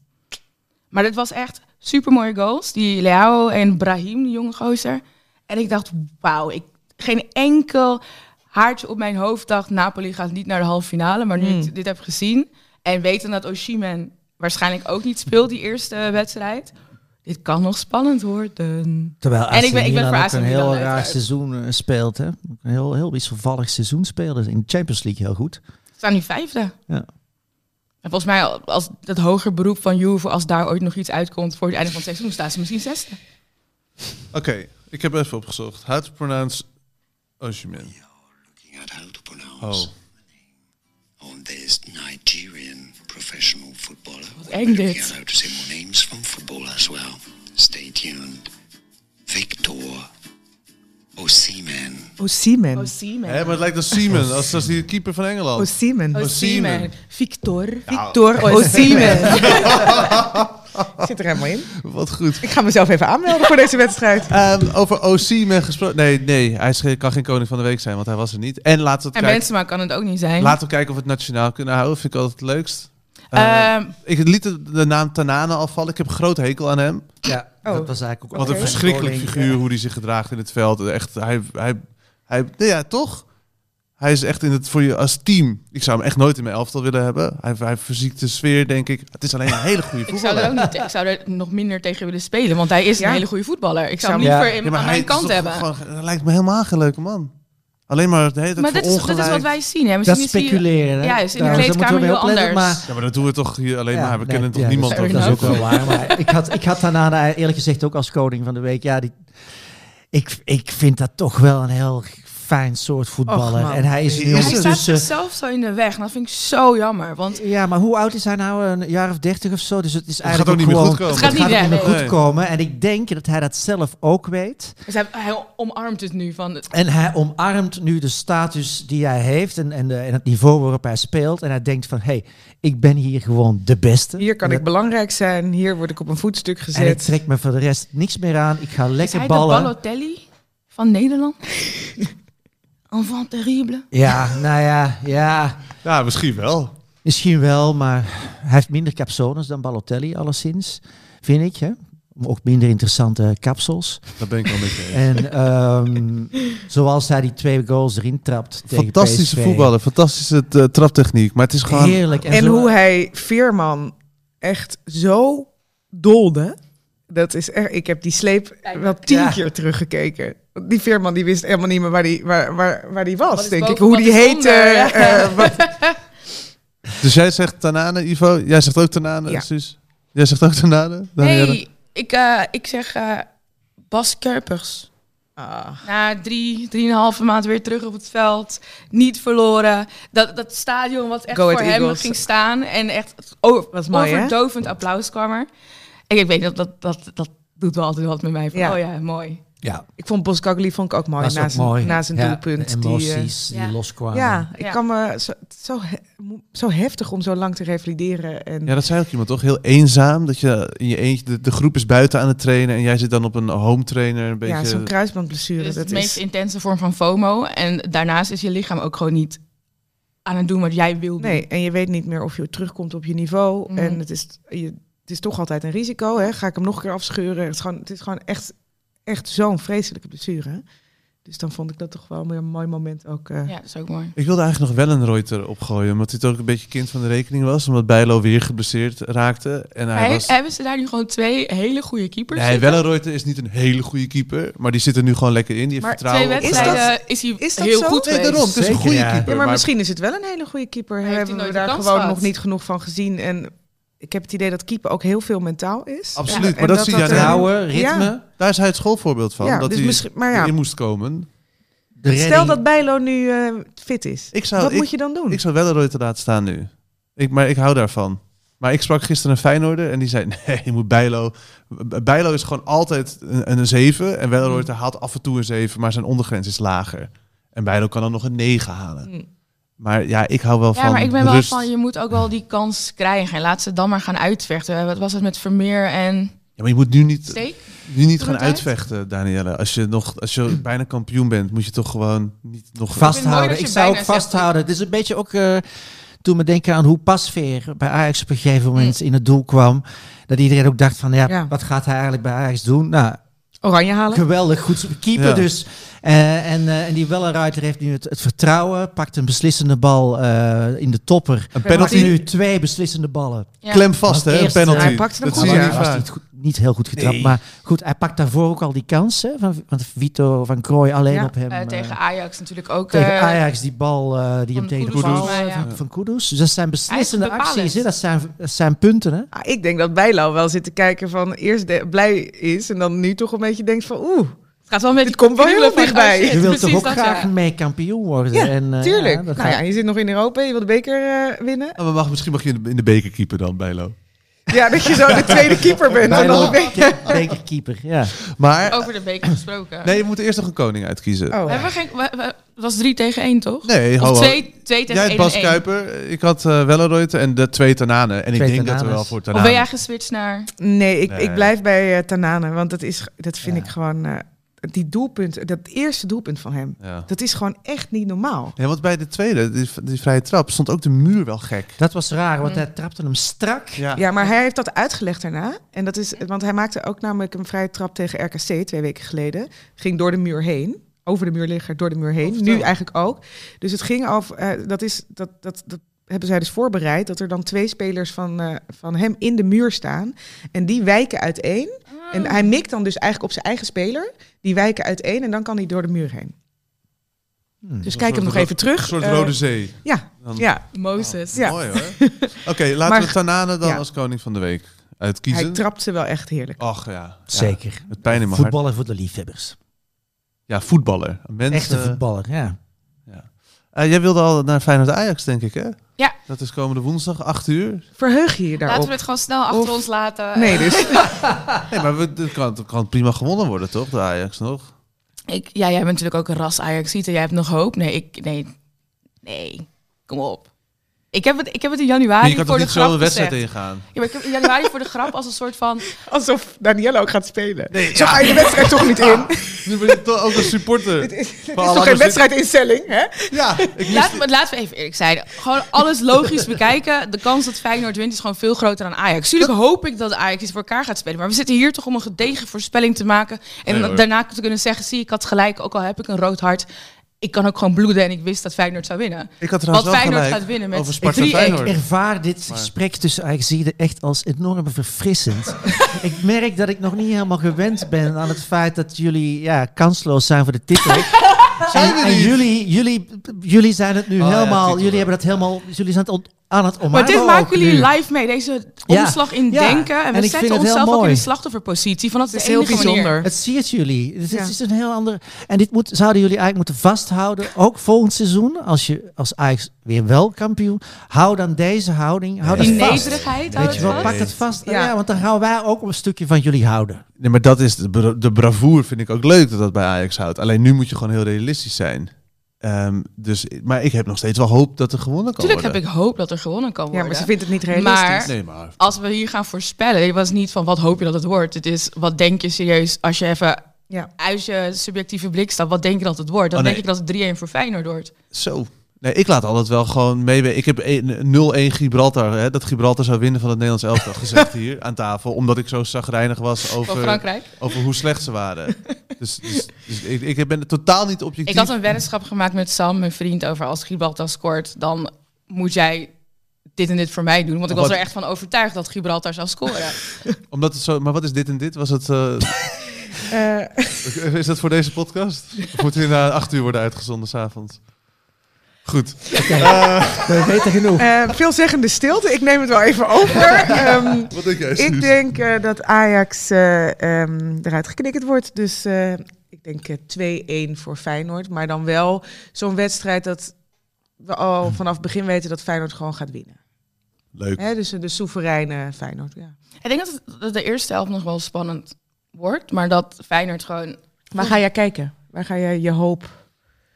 Speaker 2: Maar dit was echt super mooie goals. Die Leao en Brahim, die jonge gozer. En ik dacht, wauw. Ik, geen enkel haartje op mijn hoofd dacht... Napoli gaat niet naar de halve finale. Maar nu
Speaker 3: Hmm.
Speaker 2: ik dit heb gezien... en weten dat Osimhen waarschijnlijk ook niet speelt die eerste wedstrijd... dit kan nog spannend worden.
Speaker 4: Terwijl
Speaker 2: En
Speaker 4: AC
Speaker 2: ik ben- ik ben
Speaker 4: Milan
Speaker 2: voor
Speaker 4: ook
Speaker 2: AC
Speaker 4: een
Speaker 2: Milan,
Speaker 4: heel raar
Speaker 2: uiteraard.
Speaker 4: seizoen eh, speelt. Hè? Een heel, heel wisselvallig seizoen spelen. In de Champions League heel goed.
Speaker 2: We staan nu vijfde.
Speaker 4: Ja.
Speaker 2: En volgens mij, als dat hoger beroep van Juve... als daar ooit nog iets uitkomt voor het einde van het seizoen... staan ze misschien zesde.
Speaker 5: Oké, ik heb even opgezocht. How to pronounce Oshiman.
Speaker 7: looking at how to pronounce
Speaker 5: Oh.
Speaker 7: on this Nigerian professional footballer.
Speaker 2: eng
Speaker 7: Looking
Speaker 2: dit.
Speaker 7: at how to say more names from football as well. Stay tuned. Victor Osimhen.
Speaker 3: Osimhen.
Speaker 5: Hé, maar
Speaker 2: Osimhen.
Speaker 5: het lijkt als Seaman, als, als die keeper van
Speaker 3: Oh,
Speaker 5: Engeland. Oh,
Speaker 3: Osimhen.
Speaker 5: Osimhen.
Speaker 2: Victor.
Speaker 3: Victor
Speaker 2: [laughs]
Speaker 3: Osimhen. Ik zit er helemaal in.
Speaker 5: Wat goed.
Speaker 3: Ik ga mezelf even aanmelden voor deze wedstrijd.
Speaker 5: Ehm, over Osimhen gesproken. Nee, nee, hij is geen- kan geen koning van de week zijn, want hij was er niet. En laten we
Speaker 2: En
Speaker 5: het kijken,
Speaker 2: Benzema kan het ook niet zijn.
Speaker 5: laten we kijken of we het nationaal kunnen houden. Vind ik altijd het leukst. Eh,
Speaker 2: Ehm,
Speaker 5: ik liet de, de naam Tanane afvallen. Ik heb een groot hekel aan hem.
Speaker 4: Ja,
Speaker 3: Oh.
Speaker 4: dat was eigenlijk ook...
Speaker 5: Wat een
Speaker 4: altijd
Speaker 5: verschrikkelijk
Speaker 4: koning,
Speaker 5: figuur, hoe hij zich gedraagt in het veld. Echt, hij, hij, hij, nou ja, toch? Hij is echt in het voor je als team. Ik zou hem echt nooit in mijn elftal willen hebben. Hij, hij verziekt de sfeer, denk ik. Het is alleen een hele
Speaker 2: [laughs]
Speaker 5: goede
Speaker 2: ik, zou er
Speaker 5: voetballer.
Speaker 2: ook niet, ik zou er nog minder tegen willen spelen, want hij is een
Speaker 3: Ja.
Speaker 2: hele goede voetballer. Ik zou hem
Speaker 4: Ja.
Speaker 2: liever in-
Speaker 5: Ja, maar
Speaker 2: aan
Speaker 5: hij
Speaker 2: mijn
Speaker 5: is
Speaker 2: kant
Speaker 5: toch
Speaker 2: hebben.
Speaker 5: gewoon- hij lijkt me helemaal geen leuke man. Alleen maar de hele tijd
Speaker 2: maar dit is, dit is wat
Speaker 5: verongelijkt.
Speaker 2: wij zien. Hè.
Speaker 4: Dat
Speaker 2: Misschien is hij-
Speaker 4: speculeren. hè?
Speaker 2: Ja, is in de
Speaker 4: Trouwens, daar moeten we
Speaker 2: kleedkamer
Speaker 4: mee
Speaker 2: heel
Speaker 4: opletten,
Speaker 2: anders.
Speaker 4: maar-
Speaker 5: Ja, maar dat doen we toch hier alleen
Speaker 4: Ja,
Speaker 5: maar. We
Speaker 4: nee,
Speaker 5: kennen toch
Speaker 4: ja,
Speaker 5: niemand
Speaker 4: Dat, is-
Speaker 5: anders.
Speaker 4: dat is ook wel waar. Maar ik had, ik had daarna nou, eerlijk gezegd ook als koning van de week. Ja, die, ik, ik vind dat toch wel een heel fijn soort voetballer.
Speaker 3: Och, man.
Speaker 4: en hij is nu
Speaker 5: Hij dus, eh,
Speaker 2: Hij staat
Speaker 4: ondertussen...
Speaker 2: zichzelf zo in de weg. En dat vind ik zo jammer. Want
Speaker 4: Ja, maar hoe oud is hij nou? Een jaar of dertig of zo? Dus het is
Speaker 5: Het gaat
Speaker 4: eigenlijk
Speaker 5: ook niet meer
Speaker 4: gewoon,
Speaker 5: goed komen.
Speaker 2: Het gaat niet,
Speaker 4: ook
Speaker 2: ja,
Speaker 4: meer
Speaker 2: nee.
Speaker 4: goed komen. En ik denk dat hij dat zelf ook weet.
Speaker 2: dus hij, hij omarmt het nu. Van,
Speaker 4: En hij omarmt nu de status die hij heeft en, en, de- en het niveau waarop hij speelt. En hij denkt van, hé, hey, ik ben hier gewoon de beste.
Speaker 3: Hier kan
Speaker 4: En
Speaker 3: ik belangrijk zijn. Hier word ik op een voetstuk
Speaker 4: En ik
Speaker 3: gezet.
Speaker 4: trek me voor de rest niks meer aan. Ik ga
Speaker 2: is hij
Speaker 4: lekker
Speaker 2: de
Speaker 4: ballen.
Speaker 2: Balotelli van
Speaker 5: [laughs]
Speaker 2: Nederland? Enfant terrible.
Speaker 4: ja, nou ja, ja.
Speaker 5: Ja, misschien wel.
Speaker 4: Misschien wel, maar hij heeft minder capsones dan Balotelli alleszins. Vind ik, hè. Ook minder interessante kapsels.
Speaker 5: Dat ben ik wel met je eens.
Speaker 4: En ehm, zoals hij die twee goals erin trapt tegen
Speaker 5: Fantastische
Speaker 4: PSV.
Speaker 5: voetballer, fantastische eh, traptechniek. Maar het is gewoon...
Speaker 4: Heerlijk.
Speaker 3: En
Speaker 4: zo-
Speaker 3: hoe hij Veerman echt zo dolde. Dat is echt, ik heb die sleep wel tien
Speaker 4: Ja.
Speaker 3: keer teruggekeken. Die Veerman die wist helemaal niet meer waar die, waar, waar, waar die was,
Speaker 2: is
Speaker 3: denk
Speaker 2: boven,
Speaker 3: ik. Hoe
Speaker 2: wat
Speaker 3: die
Speaker 2: is
Speaker 3: heette.
Speaker 2: onder, ja.
Speaker 3: eh, wat-
Speaker 5: Dus jij zegt Tanane, Ivo? Jij zegt ook Tanane,
Speaker 3: Ja.
Speaker 5: Suus? Jij zegt ook Tanane? Danielle?
Speaker 2: Nee, ik, eh, ik zeg eh, Bas Kuipers.
Speaker 3: Ah.
Speaker 2: Na drie, drieënhalve maand weer terug op het veld. Niet verloren. Dat, dat stadion wat echt
Speaker 3: Go Ahead
Speaker 2: voor hem
Speaker 3: Eagles.
Speaker 2: ging staan. En echt o-
Speaker 3: Was mooi, hè?
Speaker 2: overdovend applaus kwam er. En ik weet dat dat, dat dat doet wel altijd wat met mij. Van,
Speaker 3: Ja.
Speaker 2: Oh ja, mooi.
Speaker 4: Ja,
Speaker 3: Ik vond Boskagli vond ik ook mooi.
Speaker 4: was
Speaker 3: Na
Speaker 4: ook
Speaker 3: zijn,
Speaker 4: mooi.
Speaker 3: na zijn
Speaker 4: Ja,
Speaker 3: doelpunt.
Speaker 4: De
Speaker 3: Die, eh,
Speaker 4: emoties die,
Speaker 2: Ja.
Speaker 4: loskwamen.
Speaker 3: ja, ik
Speaker 2: Ja.
Speaker 3: kan me zo, het is zo, he- mo- zo heftig om zo lang te revalideren. En
Speaker 5: Ja, dat zei ook iemand toch? Heel eenzaam. Dat je in je eentje, de, de groep is buiten aan het trainen en jij zit dan op een home trainer. Een beetje...
Speaker 3: ja, zo'n kruisbandblessure.
Speaker 2: Dus het
Speaker 3: dat
Speaker 2: de meest
Speaker 3: is,
Speaker 2: intense vorm van FOMO. En daarnaast is je lichaam ook gewoon niet aan het doen wat jij wil doen.
Speaker 3: Nee, en je weet niet meer of je terugkomt op je niveau.
Speaker 2: Mhm.
Speaker 3: En het is, je, het is toch altijd een risico. Hè? Ga ik hem nog een keer afscheuren? Het is gewoon, het is gewoon echt, echt zo'n vreselijke blessure. Dus dan vond ik dat toch wel weer een mooi moment ook. eh.
Speaker 2: Ja, dat is ook mooi.
Speaker 5: Ik wilde eigenlijk nog wel een Reuter opgooien, omdat hij toch ook een beetje kind van de rekening was, omdat Bijlo weer geblesseerd raakte. En hij,
Speaker 2: Hij-
Speaker 5: was...
Speaker 2: Hebben ze daar nu gewoon twee hele goede keepers?
Speaker 5: Nee,
Speaker 2: zitten?
Speaker 5: Wellenreuter is niet een hele goede keeper, maar die zit er nu gewoon lekker in. Die heeft
Speaker 2: Maar
Speaker 5: vertrouwen.
Speaker 2: twee wedstrijden is, hij
Speaker 3: is dat
Speaker 2: heel
Speaker 3: zo?
Speaker 2: goed
Speaker 5: Oh, Nee,
Speaker 2: geweest.
Speaker 5: daarom. Het is een
Speaker 4: Zeker,
Speaker 5: goede
Speaker 4: ja.
Speaker 5: keeper.
Speaker 3: Ja, maar
Speaker 5: maar-
Speaker 3: misschien is het wel een hele goede keeper.
Speaker 2: heeft hij
Speaker 3: Hebben we
Speaker 2: nooit de
Speaker 3: daar
Speaker 2: kans
Speaker 3: gewoon
Speaker 2: gehad?
Speaker 3: nog niet genoeg van gezien. En ik heb het idee dat keeper ook heel veel mentaal is.
Speaker 5: Absoluut,
Speaker 3: Ja,
Speaker 5: maar
Speaker 3: en
Speaker 5: dat, is
Speaker 3: dat
Speaker 5: die
Speaker 3: dat er-
Speaker 5: Janau-
Speaker 4: Trouwen, ritme.
Speaker 3: Ja.
Speaker 5: Daar is hij het schoolvoorbeeld van,
Speaker 3: Ja,
Speaker 5: dat
Speaker 3: dus
Speaker 5: hij
Speaker 3: misschien- maar ja.
Speaker 5: erin moest komen.
Speaker 4: De redding,
Speaker 3: Stel dat Bijlo nu eh, fit is.
Speaker 5: Ik zou-
Speaker 3: Wat
Speaker 5: ik-
Speaker 3: moet je dan doen?
Speaker 5: Ik zou Wellenreuter laten staan nu. Ik, maar ik hou daarvan. Maar ik sprak gisteren een Feyenoorder en die zei... [laughs] Nee, je moet Bijlo... Bijlo is gewoon altijd een, een 7. En
Speaker 2: Mm.
Speaker 5: Wellenreuter haalt af en toe een 7, maar zijn ondergrens is lager. En Bijlo kan dan nog een 9 halen.
Speaker 3: Hm.
Speaker 5: Maar ja, ik hou wel van
Speaker 2: Ja, maar ik ben wel
Speaker 5: rust.
Speaker 2: van, je moet ook wel die kans krijgen. En laat ze dan maar gaan uitvechten. Eh, Wat was het met Vermeer en
Speaker 5: Ja, maar je moet nu niet...
Speaker 2: Steek?
Speaker 5: Nu niet gaan
Speaker 2: Doe het uit.
Speaker 5: uitvechten, Danielle. Als je, nog, als je [clears throat] bijna kampioen bent, moet je toch gewoon niet nog...
Speaker 2: mooi dat
Speaker 4: vasthouden.
Speaker 2: je
Speaker 4: Ik zou ook
Speaker 2: bijna zegt-
Speaker 4: vasthouden. Het is een beetje ook... eh toen me denken aan hoe Pasveer bij Ajax op een gegeven moment in het doel kwam. Dat iedereen ook dacht van, ja,
Speaker 3: Ja.
Speaker 4: wat gaat hij eigenlijk bij Ajax doen? Nou,
Speaker 3: Oranje halen?
Speaker 4: geweldig goed keeper
Speaker 5: Ja.
Speaker 4: dus. Eh, en, eh, en die Wellenruiter heeft nu het, het vertrouwen. Pakt een beslissende bal eh, in de topper.
Speaker 5: Een
Speaker 4: Pakt
Speaker 5: penalty,
Speaker 4: nu twee beslissende ballen.
Speaker 2: Ja.
Speaker 5: klem vast,
Speaker 4: Want
Speaker 5: hè? Een
Speaker 4: eerst,
Speaker 5: penalty.
Speaker 4: eh,
Speaker 3: hij pakte hem
Speaker 5: dat
Speaker 3: goed.
Speaker 5: zie je
Speaker 3: Ja,
Speaker 5: niet
Speaker 4: was
Speaker 5: vaak.
Speaker 4: niet, goed, niet heel goed getrapt.
Speaker 5: Nee.
Speaker 4: Maar goed, hij pakt daarvoor ook al die kansen. Van, want Vito van Krooi alleen
Speaker 3: Ja,
Speaker 4: op hem.
Speaker 2: Eh,
Speaker 4: eh,
Speaker 2: tegen Ajax natuurlijk ook.
Speaker 4: tegen
Speaker 2: eh,
Speaker 4: Ajax, die bal eh, die hem
Speaker 2: van
Speaker 4: tegen
Speaker 2: Kudus
Speaker 4: de bal
Speaker 2: volgens mij, ja.
Speaker 4: van, van Kudus. Dus dat zijn beslissende
Speaker 2: bepalend.
Speaker 4: acties. Hè? Dat, zijn, dat zijn punten. Hè?
Speaker 3: Ah, ik denk dat Bijlo wel zit te kijken van eerst de- blij is en dan nu toch een beetje denkt van oeh.
Speaker 4: Nou
Speaker 2: het gaat wel met
Speaker 3: Dit
Speaker 2: die
Speaker 3: komt wel heel
Speaker 2: krullen van,
Speaker 3: dichtbij.
Speaker 2: oh shit,
Speaker 4: Je wilt toch
Speaker 2: precies
Speaker 4: ook
Speaker 2: dat,
Speaker 4: graag
Speaker 2: ja.
Speaker 4: mee kampioen worden.
Speaker 3: Ja,
Speaker 4: en, eh,
Speaker 3: Tuurlijk.
Speaker 4: ja, dat
Speaker 3: nou
Speaker 4: gaat-
Speaker 3: ja, je zit nog in Europa, je wil de beker eh, winnen.
Speaker 5: Ah, maar mag, misschien mag je in de- in de beker keeper dan, Bijlo.
Speaker 3: Ja, dat je zo de tweede keeper bent.
Speaker 2: [laughs]
Speaker 3: En dan
Speaker 4: Bijlo,
Speaker 3: de beker.
Speaker 4: ke- bekerkeeper, ja.
Speaker 5: Maar
Speaker 2: Over de beker gesproken.
Speaker 5: nee, je moet eerst nog een koning uitkiezen.
Speaker 3: Oh.
Speaker 2: We hebben geen, we- we- het was drie tegen één, toch?
Speaker 5: Nee,
Speaker 2: Of
Speaker 5: hallo.
Speaker 2: twee, twee tegen
Speaker 5: Jij
Speaker 2: één
Speaker 5: had
Speaker 2: en
Speaker 5: Bas
Speaker 2: één.
Speaker 5: Kuiper, ik had eh Welleroyd en de twee Tananen. En ik
Speaker 4: Twee
Speaker 5: denk dat er
Speaker 4: Tananes.
Speaker 5: wel voor
Speaker 2: Of ben
Speaker 5: Tananen...
Speaker 2: jij geswitcht naar...
Speaker 3: Nee, ik,
Speaker 5: Nee.
Speaker 3: ik blijf bij eh, Tanane, want dat, is, dat vind
Speaker 4: Ja.
Speaker 3: ik gewoon... eh, die doelpunt, dat eerste doelpunt van hem,
Speaker 5: Ja.
Speaker 3: dat is gewoon echt niet normaal.
Speaker 5: Ja, want bij de tweede, die, die vrije trap, stond ook de muur wel gek.
Speaker 4: Dat was raar, want hij trapte hem strak.
Speaker 3: Ja, maar hij heeft dat uitgelegd daarna. En dat is, want hij maakte ook namelijk een vrije trap tegen RKC twee weken geleden. Ging door de muur heen. Over de muurligger, door de muur heen. Nu eigenlijk ook. Dus het ging over, eh, dat, is, dat, dat, dat hebben zij dus voorbereid. Dat er dan twee spelers van, eh, van hem in de muur staan. En die wijken uiteen.
Speaker 2: Oh.
Speaker 3: En hij mikt dan dus eigenlijk op zijn eigen speler. Die wijken uiteen en dan kan hij door de muur heen.
Speaker 5: Hmm,
Speaker 3: Dus kijk hem nog even terug.
Speaker 5: Een soort
Speaker 3: Eh,
Speaker 5: Rode Zee.
Speaker 3: ja,
Speaker 5: Dan-
Speaker 3: ja.
Speaker 2: Moses.
Speaker 3: Ja.
Speaker 5: Mooi hoor.
Speaker 3: [laughs]
Speaker 5: Oké, laten
Speaker 3: Maar-
Speaker 5: we Tananen dan
Speaker 3: ja.
Speaker 5: als koning van de week
Speaker 3: hij
Speaker 5: uitkiezen.
Speaker 3: trapt ze wel echt heerlijk.
Speaker 5: Ach ja. ja.
Speaker 4: Zeker.
Speaker 5: Met pijn in mijn hart.
Speaker 4: Voetballer voor de liefhebbers.
Speaker 5: Ja, voetballer. Mensen,
Speaker 4: Echte voetballer, ja.
Speaker 5: Eh, jij wilde al naar Feyenoord Ajax, denk ik, hè?
Speaker 2: Ja.
Speaker 5: Dat is komende woensdag, 8 uur.
Speaker 3: Verheug je je
Speaker 2: Laten
Speaker 3: daarop?
Speaker 2: we het gewoon snel achter
Speaker 3: Of-
Speaker 2: ons laten.
Speaker 3: Nee, dus.
Speaker 5: Nee, maar we, dat kan, dat kan prima gewonnen worden, toch? De Ajax
Speaker 2: Ah,
Speaker 5: nog.
Speaker 2: Ik, ja, jij bent natuurlijk ook een ras ajax en jij hebt nog hoop. Nee, ik, nee, nee, kom op. Ik heb het, ik heb het in
Speaker 5: Maar
Speaker 2: januari
Speaker 5: je kan
Speaker 2: voor
Speaker 5: toch
Speaker 2: de
Speaker 5: niet zo
Speaker 2: grap
Speaker 5: de wedstrijd
Speaker 2: gezegd.
Speaker 5: ingaan?
Speaker 2: Ja, maar ik heb in januari voor de grap als een soort van...
Speaker 3: Alsof Danielle ook gaat spelen. Zo ga je de wedstrijd toch niet in. Het
Speaker 5: Nu ben je toch ook een
Speaker 2: [laughs]
Speaker 3: is,
Speaker 5: supporter.
Speaker 3: het is
Speaker 5: Maar
Speaker 3: toch
Speaker 5: Alan
Speaker 3: geen
Speaker 5: is dit-
Speaker 3: wedstrijdinstelling, hè?
Speaker 5: Ja, [laughs] ik
Speaker 2: Laat, maar laten we even eerlijk zijn. Gewoon alles logisch bekijken. De kans dat Feyenoord wint is gewoon veel groter dan Ajax. Tuurlijk hoop ik dat Ajax iets voor elkaar gaat spelen. Maar we zitten hier toch om een gedegen voorspelling te maken. En
Speaker 5: Nee, hoor.
Speaker 2: daarna te kunnen zeggen, zie ik had gelijk. Ook al heb ik een rood hart. Ik kan ook gewoon bloeden en ik wist dat Feyenoord zou winnen.
Speaker 5: Ik had
Speaker 2: Want
Speaker 5: trouwens wel
Speaker 2: Feyenoord
Speaker 5: gelijk
Speaker 2: gaat winnen met
Speaker 5: over
Speaker 4: Ik,
Speaker 5: Sparta
Speaker 4: vind- ik
Speaker 5: Feyenoord.
Speaker 4: ervaar dit gesprek tussen Ajaxiden echt als enorm
Speaker 5: [laughs]
Speaker 4: verfrissend. ik merk dat ik nog niet helemaal gewend ben aan het feit dat jullie ja, kansloos zijn voor de titel.
Speaker 5: [laughs] Zijn we
Speaker 4: en
Speaker 5: niet?
Speaker 4: jullie, jullie, jullie zijn het nu
Speaker 5: Oh ja,
Speaker 4: helemaal,
Speaker 5: titel,
Speaker 4: jullie
Speaker 5: ja.
Speaker 4: hebben dat helemaal, jullie zijn het on- aan het omarmen.
Speaker 2: Maar dit
Speaker 4: ook
Speaker 2: maken jullie
Speaker 4: nu.
Speaker 2: live mee, deze
Speaker 4: Ja.
Speaker 2: omslag in
Speaker 4: Ja.
Speaker 2: denken. En
Speaker 4: En
Speaker 2: we
Speaker 4: ik vind
Speaker 2: zetten
Speaker 4: het heel
Speaker 2: onszelf ook in
Speaker 4: mooi.
Speaker 2: de slachtofferpositie. Van dat
Speaker 3: Het
Speaker 2: is
Speaker 3: is
Speaker 2: de
Speaker 3: heel
Speaker 2: enige
Speaker 3: bijzonder.
Speaker 2: Manier.
Speaker 4: Het zie het jullie. Het, is-
Speaker 3: Ja.
Speaker 4: het is een heel ander. En dit moet, zouden jullie eigenlijk moeten vasthouden. Ook volgend seizoen. Als je als Ajax weer wel kampioen. Hou dan deze houding. Hou
Speaker 2: Die
Speaker 4: dat vast.
Speaker 2: nederigheid. eh,
Speaker 4: Weet je wel,
Speaker 2: houdt het
Speaker 4: pak
Speaker 2: vast.
Speaker 4: dat vast. Ja.
Speaker 3: Ja.
Speaker 4: want dan gaan wij ook een stukje van jullie houden.
Speaker 5: Nee, maar dat is de, bra- de bravoer vind ik ook leuk dat dat bij Ajax houdt. Alleen nu moet je gewoon heel realistisch zijn. Ehm, dus, maar ik heb nog steeds wel hoop dat er gewonnen kan
Speaker 2: Natuurlijk heb
Speaker 5: worden.
Speaker 2: ik hoop dat er gewonnen kan worden.
Speaker 3: Ja, maar ze vindt het niet realistisch.
Speaker 2: Maar- ik-
Speaker 5: Nee, maar
Speaker 2: als we hier gaan voorspellen, het was niet van wat hoop je dat het wordt. Het is wat denk je serieus als je even
Speaker 3: Ja.
Speaker 2: uit je subjectieve blik stapt. Wat denk je dat het wordt? Dan
Speaker 5: Oh, nee.
Speaker 2: denk ik dat het 3-1 voor Feyenoord wordt.
Speaker 5: zo. Nee, ik laat altijd wel gewoon meewerken. Ik heb een- 0-1 Gibraltar, hè, dat Gibraltar zou winnen van het Nederlands
Speaker 2: [laughs]
Speaker 5: elftal, gezegd hier aan tafel. Omdat ik zo zagrijnig was
Speaker 2: Van
Speaker 4: eh,
Speaker 5: over,
Speaker 2: Frankrijk.
Speaker 5: over hoe slecht ze waren. Dus, dus, dus ik, ik ben totaal niet objectief.
Speaker 2: Ik had een weddenschap gemaakt met Sam, mijn vriend, over als Gibraltar scoort, dan moet jij dit en dit voor mij doen. Want ik was
Speaker 5: Wat-
Speaker 2: er echt van overtuigd dat Gibraltar zou scoren.
Speaker 5: Omdat het zo, maar wat is dit en dit? Was het, eh,
Speaker 3: Eh,
Speaker 5: is dat voor deze podcast? Of moet hij na acht uur worden uitgezonden s'avonds? Goed.
Speaker 4: We weten
Speaker 3: [laughs]
Speaker 4: genoeg.
Speaker 3: eh, veelzeggende stilte. Ik neem het wel even [laughs] over. Ehm,
Speaker 5: Wat denk jij,
Speaker 3: ik denk eh, dat Ajax eh, ehm, eruit geknikkerd wordt. Dus eh, ik denk eh, 2-1 voor Feyenoord. Maar dan wel zo'n wedstrijd dat we al vanaf het begin weten dat Feyenoord gewoon gaat winnen.
Speaker 5: Leuk.
Speaker 3: Hè, dus eh, de soevereine Feyenoord. Ja.
Speaker 2: [laughs] ik denk dat, het- dat de eerste helft nog wel spannend wordt, maar dat Feyenoord gewoon...
Speaker 3: Waar ga jij kijken? Waar ga jij je hoop?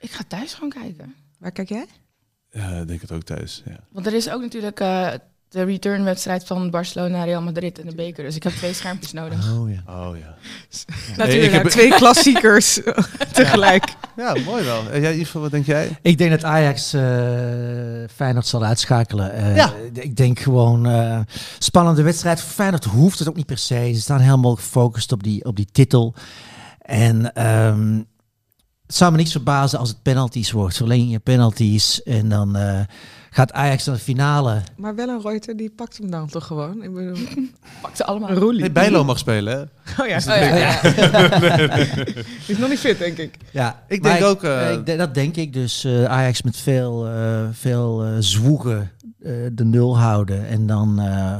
Speaker 2: Ik ga thuis gewoon kijken.
Speaker 3: Waar kijk jij?
Speaker 5: Ja, ik denk het ook thuis. Ja.
Speaker 2: Want er is ook natuurlijk eh, de returnwedstrijd van Barcelona, Real Madrid en de beker. Dus ik heb twee schermpjes
Speaker 4: [laughs]
Speaker 2: nodig.
Speaker 4: Oh ja.
Speaker 5: Oh ja.
Speaker 3: Natuurlijk,
Speaker 5: heb-
Speaker 3: [laughs] twee klassiekers tegelijk.
Speaker 5: Ja, mooi wel. En jij, Ivo, wat denk jij?
Speaker 4: Ik denk dat Ajax eh Feyenoord zal uitschakelen. Eh,
Speaker 5: Ja.
Speaker 4: Ik denk gewoon eh, spannende wedstrijd. Voor Feyenoord hoeft het ook niet per se. Ze staan helemaal gefocust op die, op die titel. En ehm, het zou me niks verbazen als het penalties wordt. Verlengingen penalties. En dan eh, gaat Ajax naar de finale.
Speaker 3: [laughs] Maar wel een Reuter, die pakt hem dan toch gewoon? Ik bedoel,
Speaker 2: Pak ze allemaal.
Speaker 3: een roelie.
Speaker 5: Nee, Bijlo mag spelen, hè?
Speaker 3: [laughs] Oh ja,
Speaker 2: Oh, ja, ja.
Speaker 3: [laughs] die is nog niet fit, denk ik.
Speaker 4: Ja,
Speaker 5: Ik
Speaker 4: maar
Speaker 5: denk ook, eh,
Speaker 4: ik de- dat denk ik dus. eh, Ajax met veel, eh, veel eh, zwoegen eh, de nul houden en dan eh,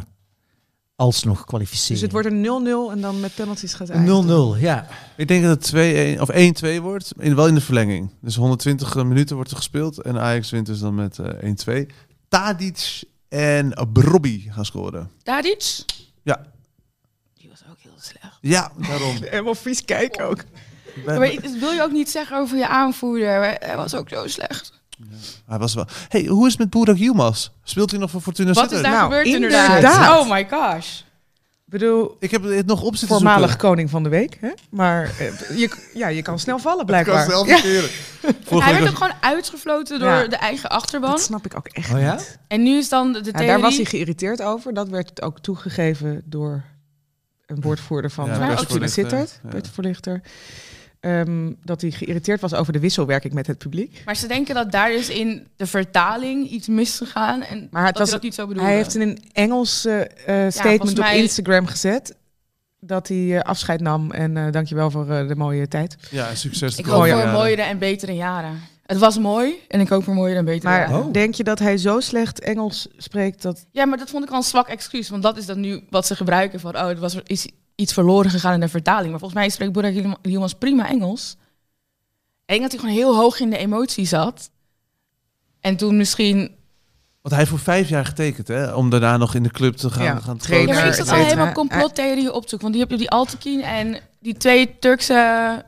Speaker 4: alsnog kwalificeren.
Speaker 3: Dus het wordt een 0-0 en dan met penalties gaat uit.
Speaker 4: een 0-0, ja.
Speaker 5: Ik denk dat het 2-1 of 1-2 wordt, in, wel in de verlenging. Dus 120 minuten wordt er gespeeld en Ajax wint dus dan met eh 1-2. Tadic en Brobby gaan scoren.
Speaker 2: Tadic?
Speaker 5: Ja.
Speaker 2: Die was ook heel slecht.
Speaker 5: Ja,
Speaker 2: [laughs]
Speaker 5: daarom.
Speaker 3: Helemaal vies kijken ook.
Speaker 2: Maar ik- dat wil je ook niet zeggen over je aanvoerder. maar Hij was ook zo slecht.
Speaker 5: Hij was wel. Hey, hoe is het met Boerak Yilmaz? Speelt hij nog voor Fortuna
Speaker 2: Wat is
Speaker 5: Sittard?
Speaker 2: daar
Speaker 3: Nou,
Speaker 2: gebeurd
Speaker 3: inderdaad.
Speaker 2: inderdaad? Oh my gosh.
Speaker 3: Ik bedoel,
Speaker 5: Ik heb het nog op zitten
Speaker 3: voormalig
Speaker 5: zoeken.
Speaker 3: koning van de week. Hè? Maar eh, je, ja, je kan snel vallen blijkbaar.
Speaker 2: [laughs]
Speaker 3: ja,
Speaker 5: verkeren. Vorige
Speaker 2: Hij
Speaker 5: week
Speaker 2: werd
Speaker 5: was-
Speaker 2: ook gewoon uitgefloten door
Speaker 3: Ja.
Speaker 2: de eigen achterban.
Speaker 3: dat snap ik ook echt
Speaker 4: Oh ja?
Speaker 3: niet.
Speaker 2: En nu is dan de
Speaker 3: Ja,
Speaker 2: theorie...
Speaker 3: daar was hij geïrriteerd over. Dat werd ook toegegeven door een woordvoerder van
Speaker 5: Ja,
Speaker 3: eh,
Speaker 2: Bert
Speaker 3: Fortuna
Speaker 5: Voorlichter,
Speaker 3: Sittert,
Speaker 5: ja.
Speaker 3: Bert Voorlichter. Ehm, dat hij geïrriteerd was over de wisselwerking met het publiek.
Speaker 2: Maar ze denken dat daar is in de vertaling iets misgegaan. En
Speaker 3: Maar het
Speaker 2: dat
Speaker 3: was-
Speaker 2: hij dat niet zo bedoelde.
Speaker 3: Hij heeft in een Engels eh, eh, statement
Speaker 2: volgens mij-
Speaker 3: op Instagram gezet dat hij eh, afscheid nam en eh, dankjewel voor eh, de mooie tijd.
Speaker 5: Oh, Ja, succes. de
Speaker 2: Ik hoop
Speaker 5: komende
Speaker 2: voor
Speaker 5: jaren.
Speaker 2: mooiere en betere jaren. Het was mooi en ik hoop voor mooiere en betere
Speaker 3: Maar
Speaker 2: jaren.
Speaker 4: Oh.
Speaker 3: denk je dat hij zo slecht Engels spreekt dat...
Speaker 2: Ja, maar dat vond ik al een zwak excuus. Want dat is dan nu wat ze gebruiken. Van, oh, er was, is iets verloren gegaan in de vertaling. Maar volgens mij spreekt Boerak Yilmaz prima Engels. En ik denk dat hij gewoon heel hoog in de emotie zat. En toen misschien...
Speaker 5: Want hij heeft voor vijf jaar getekend, hè? Om daarna nog in de club te gaan,
Speaker 3: Ja,
Speaker 5: gaan
Speaker 2: Ja,
Speaker 3: trainer.
Speaker 5: coachen.
Speaker 2: maar ik zat al
Speaker 3: etcetera.
Speaker 2: helemaal complottheorieën op te zoeken. Want die heb je die Altekin en die twee Turkse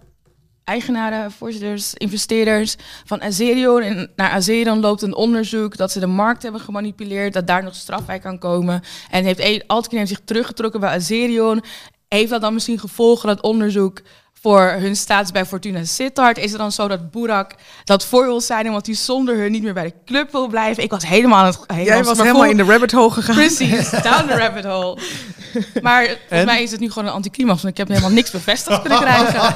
Speaker 2: eigenaren, voorzitters, investeerders van Azerion. En naar Azerion loopt een onderzoek dat ze de markt hebben gemanipuleerd, dat daar nog straf bij kan komen. En heeft e- Altekin heeft zich teruggetrokken bij Azerion. Heeft dat dan misschien gevolgen, dat onderzoek? Voor hun status bij Fortuna Sittard is het dan zo dat Boerak dat voor wil zijn, omdat hij zonder hun niet meer bij de club wil blijven. Ik was helemaal aan het helemaal,
Speaker 3: Jij was helemaal in de rabbit hole gegaan.
Speaker 2: Precies, down the rabbit hole. Maar volgens mij is het nu gewoon een anticlimax, want ik heb helemaal niks bevestigd kunnen krijgen.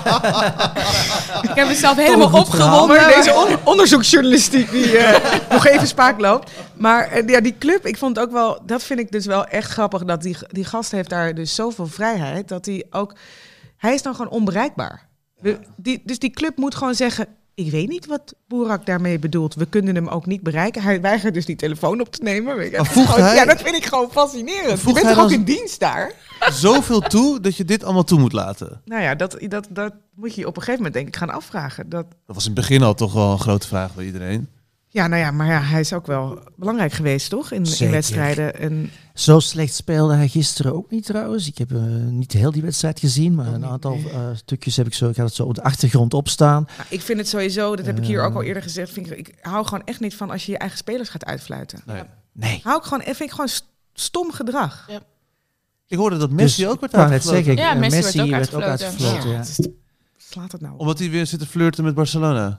Speaker 2: ik heb mezelf helemaal
Speaker 4: goed verhaal.
Speaker 2: opgewonden.
Speaker 3: Maar deze on- onderzoeksjournalistiek die eh, [laughs] nog even spaak loopt. Maar eh, ja, die club, ik vond ook wel, dat vind ik dus wel echt grappig. Dat die, die gast heeft daar dus zoveel vrijheid. Dat hij ook, hij is dan gewoon onbereikbaar. We- die, dus die club moet gewoon zeggen, ik weet niet wat Boerak daarmee bedoelt. We kunnen hem ook niet bereiken. Hij weigert dus die telefoon op te nemen. Weet je.
Speaker 5: Maar voegt
Speaker 3: Gewoon-
Speaker 5: hij-
Speaker 3: Ja, dat vind ik gewoon fascinerend. Je
Speaker 5: Voegt
Speaker 3: bent
Speaker 5: hij
Speaker 3: toch ook
Speaker 5: dan-
Speaker 3: in dienst daar?
Speaker 5: Zoveel toe dat je dit allemaal toe moet laten.
Speaker 3: Nou ja, dat, dat, dat moet je je op een gegeven moment denk ik gaan afvragen. Dat,
Speaker 5: Dat was in het begin al toch wel een grote vraag bij iedereen.
Speaker 3: Ja, nou ja, maar ja, hij is ook wel belangrijk geweest, toch? In, in
Speaker 4: Zeker.
Speaker 3: wedstrijden. En,
Speaker 4: Zo slecht speelde hij gisteren ook niet trouwens. Ik heb eh, niet heel die wedstrijd gezien, maar een aantal eh, stukjes heb ik zo, ik had het zo op de achtergrond opstaan.
Speaker 3: Nou, ik vind het sowieso, dat heb ik hier ook al eerder gezegd, vind ik, ik hou gewoon echt niet van als je je eigen spelers gaat uitfluiten.
Speaker 5: Nee.
Speaker 4: Nee.
Speaker 3: Hou ik gewoon, vind ik gewoon st- stom gedrag.
Speaker 5: Ik hoorde dat Messi
Speaker 4: Dus
Speaker 5: ook werd
Speaker 4: ik wou net
Speaker 5: uitgefloten.
Speaker 4: zeggen,
Speaker 2: Ja,
Speaker 4: eh,
Speaker 2: Messi werd ook
Speaker 4: werd ook
Speaker 2: uitgefloten.
Speaker 4: uitgefloten. ja.
Speaker 3: Slaat het nou op?
Speaker 5: Omdat hij weer zit te flirten met Barcelona.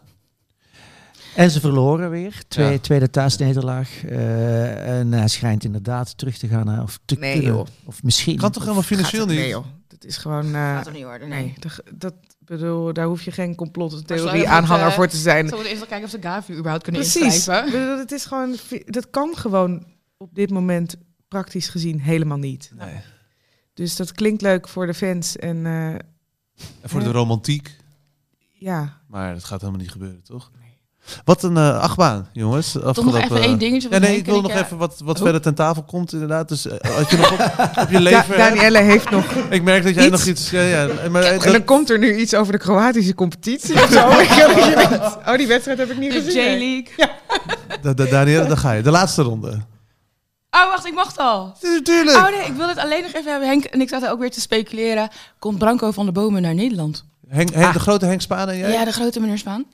Speaker 4: En ze verloren weer. Twee,
Speaker 5: Ja.
Speaker 4: Tweede thuisnederlaag. Eh, en hij schijnt inderdaad terug te gaan. eh, Of te
Speaker 3: Nee,
Speaker 4: kunnen.
Speaker 3: joh.
Speaker 4: Of misschien.
Speaker 5: Kan toch helemaal financieel
Speaker 3: Gaat het-
Speaker 5: niet?
Speaker 3: Nee, joh. Dat is gewoon... eh,
Speaker 2: Gaat toch niet worden,
Speaker 3: nee,
Speaker 2: nee.
Speaker 3: dat, dat bedoel, daar hoef je geen
Speaker 2: Maar zou je
Speaker 3: complottheorie-aanhanger
Speaker 2: moeten- eh,
Speaker 3: voor te zijn.
Speaker 2: Zullen we eerst wel kijken of ze Gavi überhaupt kunnen
Speaker 3: Precies.
Speaker 2: inschrijven?
Speaker 3: Ik bedoel, Het is gewoon, dat kan gewoon op dit moment praktisch gezien helemaal niet.
Speaker 5: Nee.
Speaker 3: Dus dat klinkt leuk voor de fans en eh,
Speaker 5: En voor de romantiek.
Speaker 3: ja.
Speaker 5: Maar dat gaat helemaal niet gebeuren, toch? Wat een eh, achtbaan, jongens.
Speaker 2: Toch nog
Speaker 5: Afgelopen-
Speaker 2: even één dingetje.
Speaker 5: eh,
Speaker 2: van
Speaker 5: Ja, nee,
Speaker 2: Henk
Speaker 5: ik
Speaker 2: en
Speaker 5: wil nog
Speaker 2: eh,
Speaker 5: even wat, wat
Speaker 2: Oh.
Speaker 5: verder ten tafel komt, inderdaad. Dus eh, als je nog op, [laughs] op je
Speaker 3: Da
Speaker 5: lever... hebt-
Speaker 3: Danielle heeft nog.
Speaker 5: ik merk dat jij
Speaker 3: Iets.
Speaker 5: nog iets... Ja, ja, maar, eh,
Speaker 3: En dan
Speaker 5: dat-
Speaker 3: komt er nu iets over de Kroatische competitie of zo.
Speaker 5: [laughs]
Speaker 3: Ik weet het niet. oh, die wedstrijd heb ik niet
Speaker 2: De
Speaker 3: gezien. hè.
Speaker 2: J-League.
Speaker 5: da- da- Daniel, daar ga je. De laatste ronde.
Speaker 2: Oh, wacht, ik mag het al.
Speaker 5: Natuurlijk.
Speaker 2: Oh nee, ik wil het alleen nog even hebben. Henk en ik zaten ook weer te speculeren. Komt Branco van de Bomen naar Nederland?
Speaker 5: Henk, Henk- De grote Henk Spaan en
Speaker 2: Ja,
Speaker 5: jij?
Speaker 2: de grote meneer Spaan.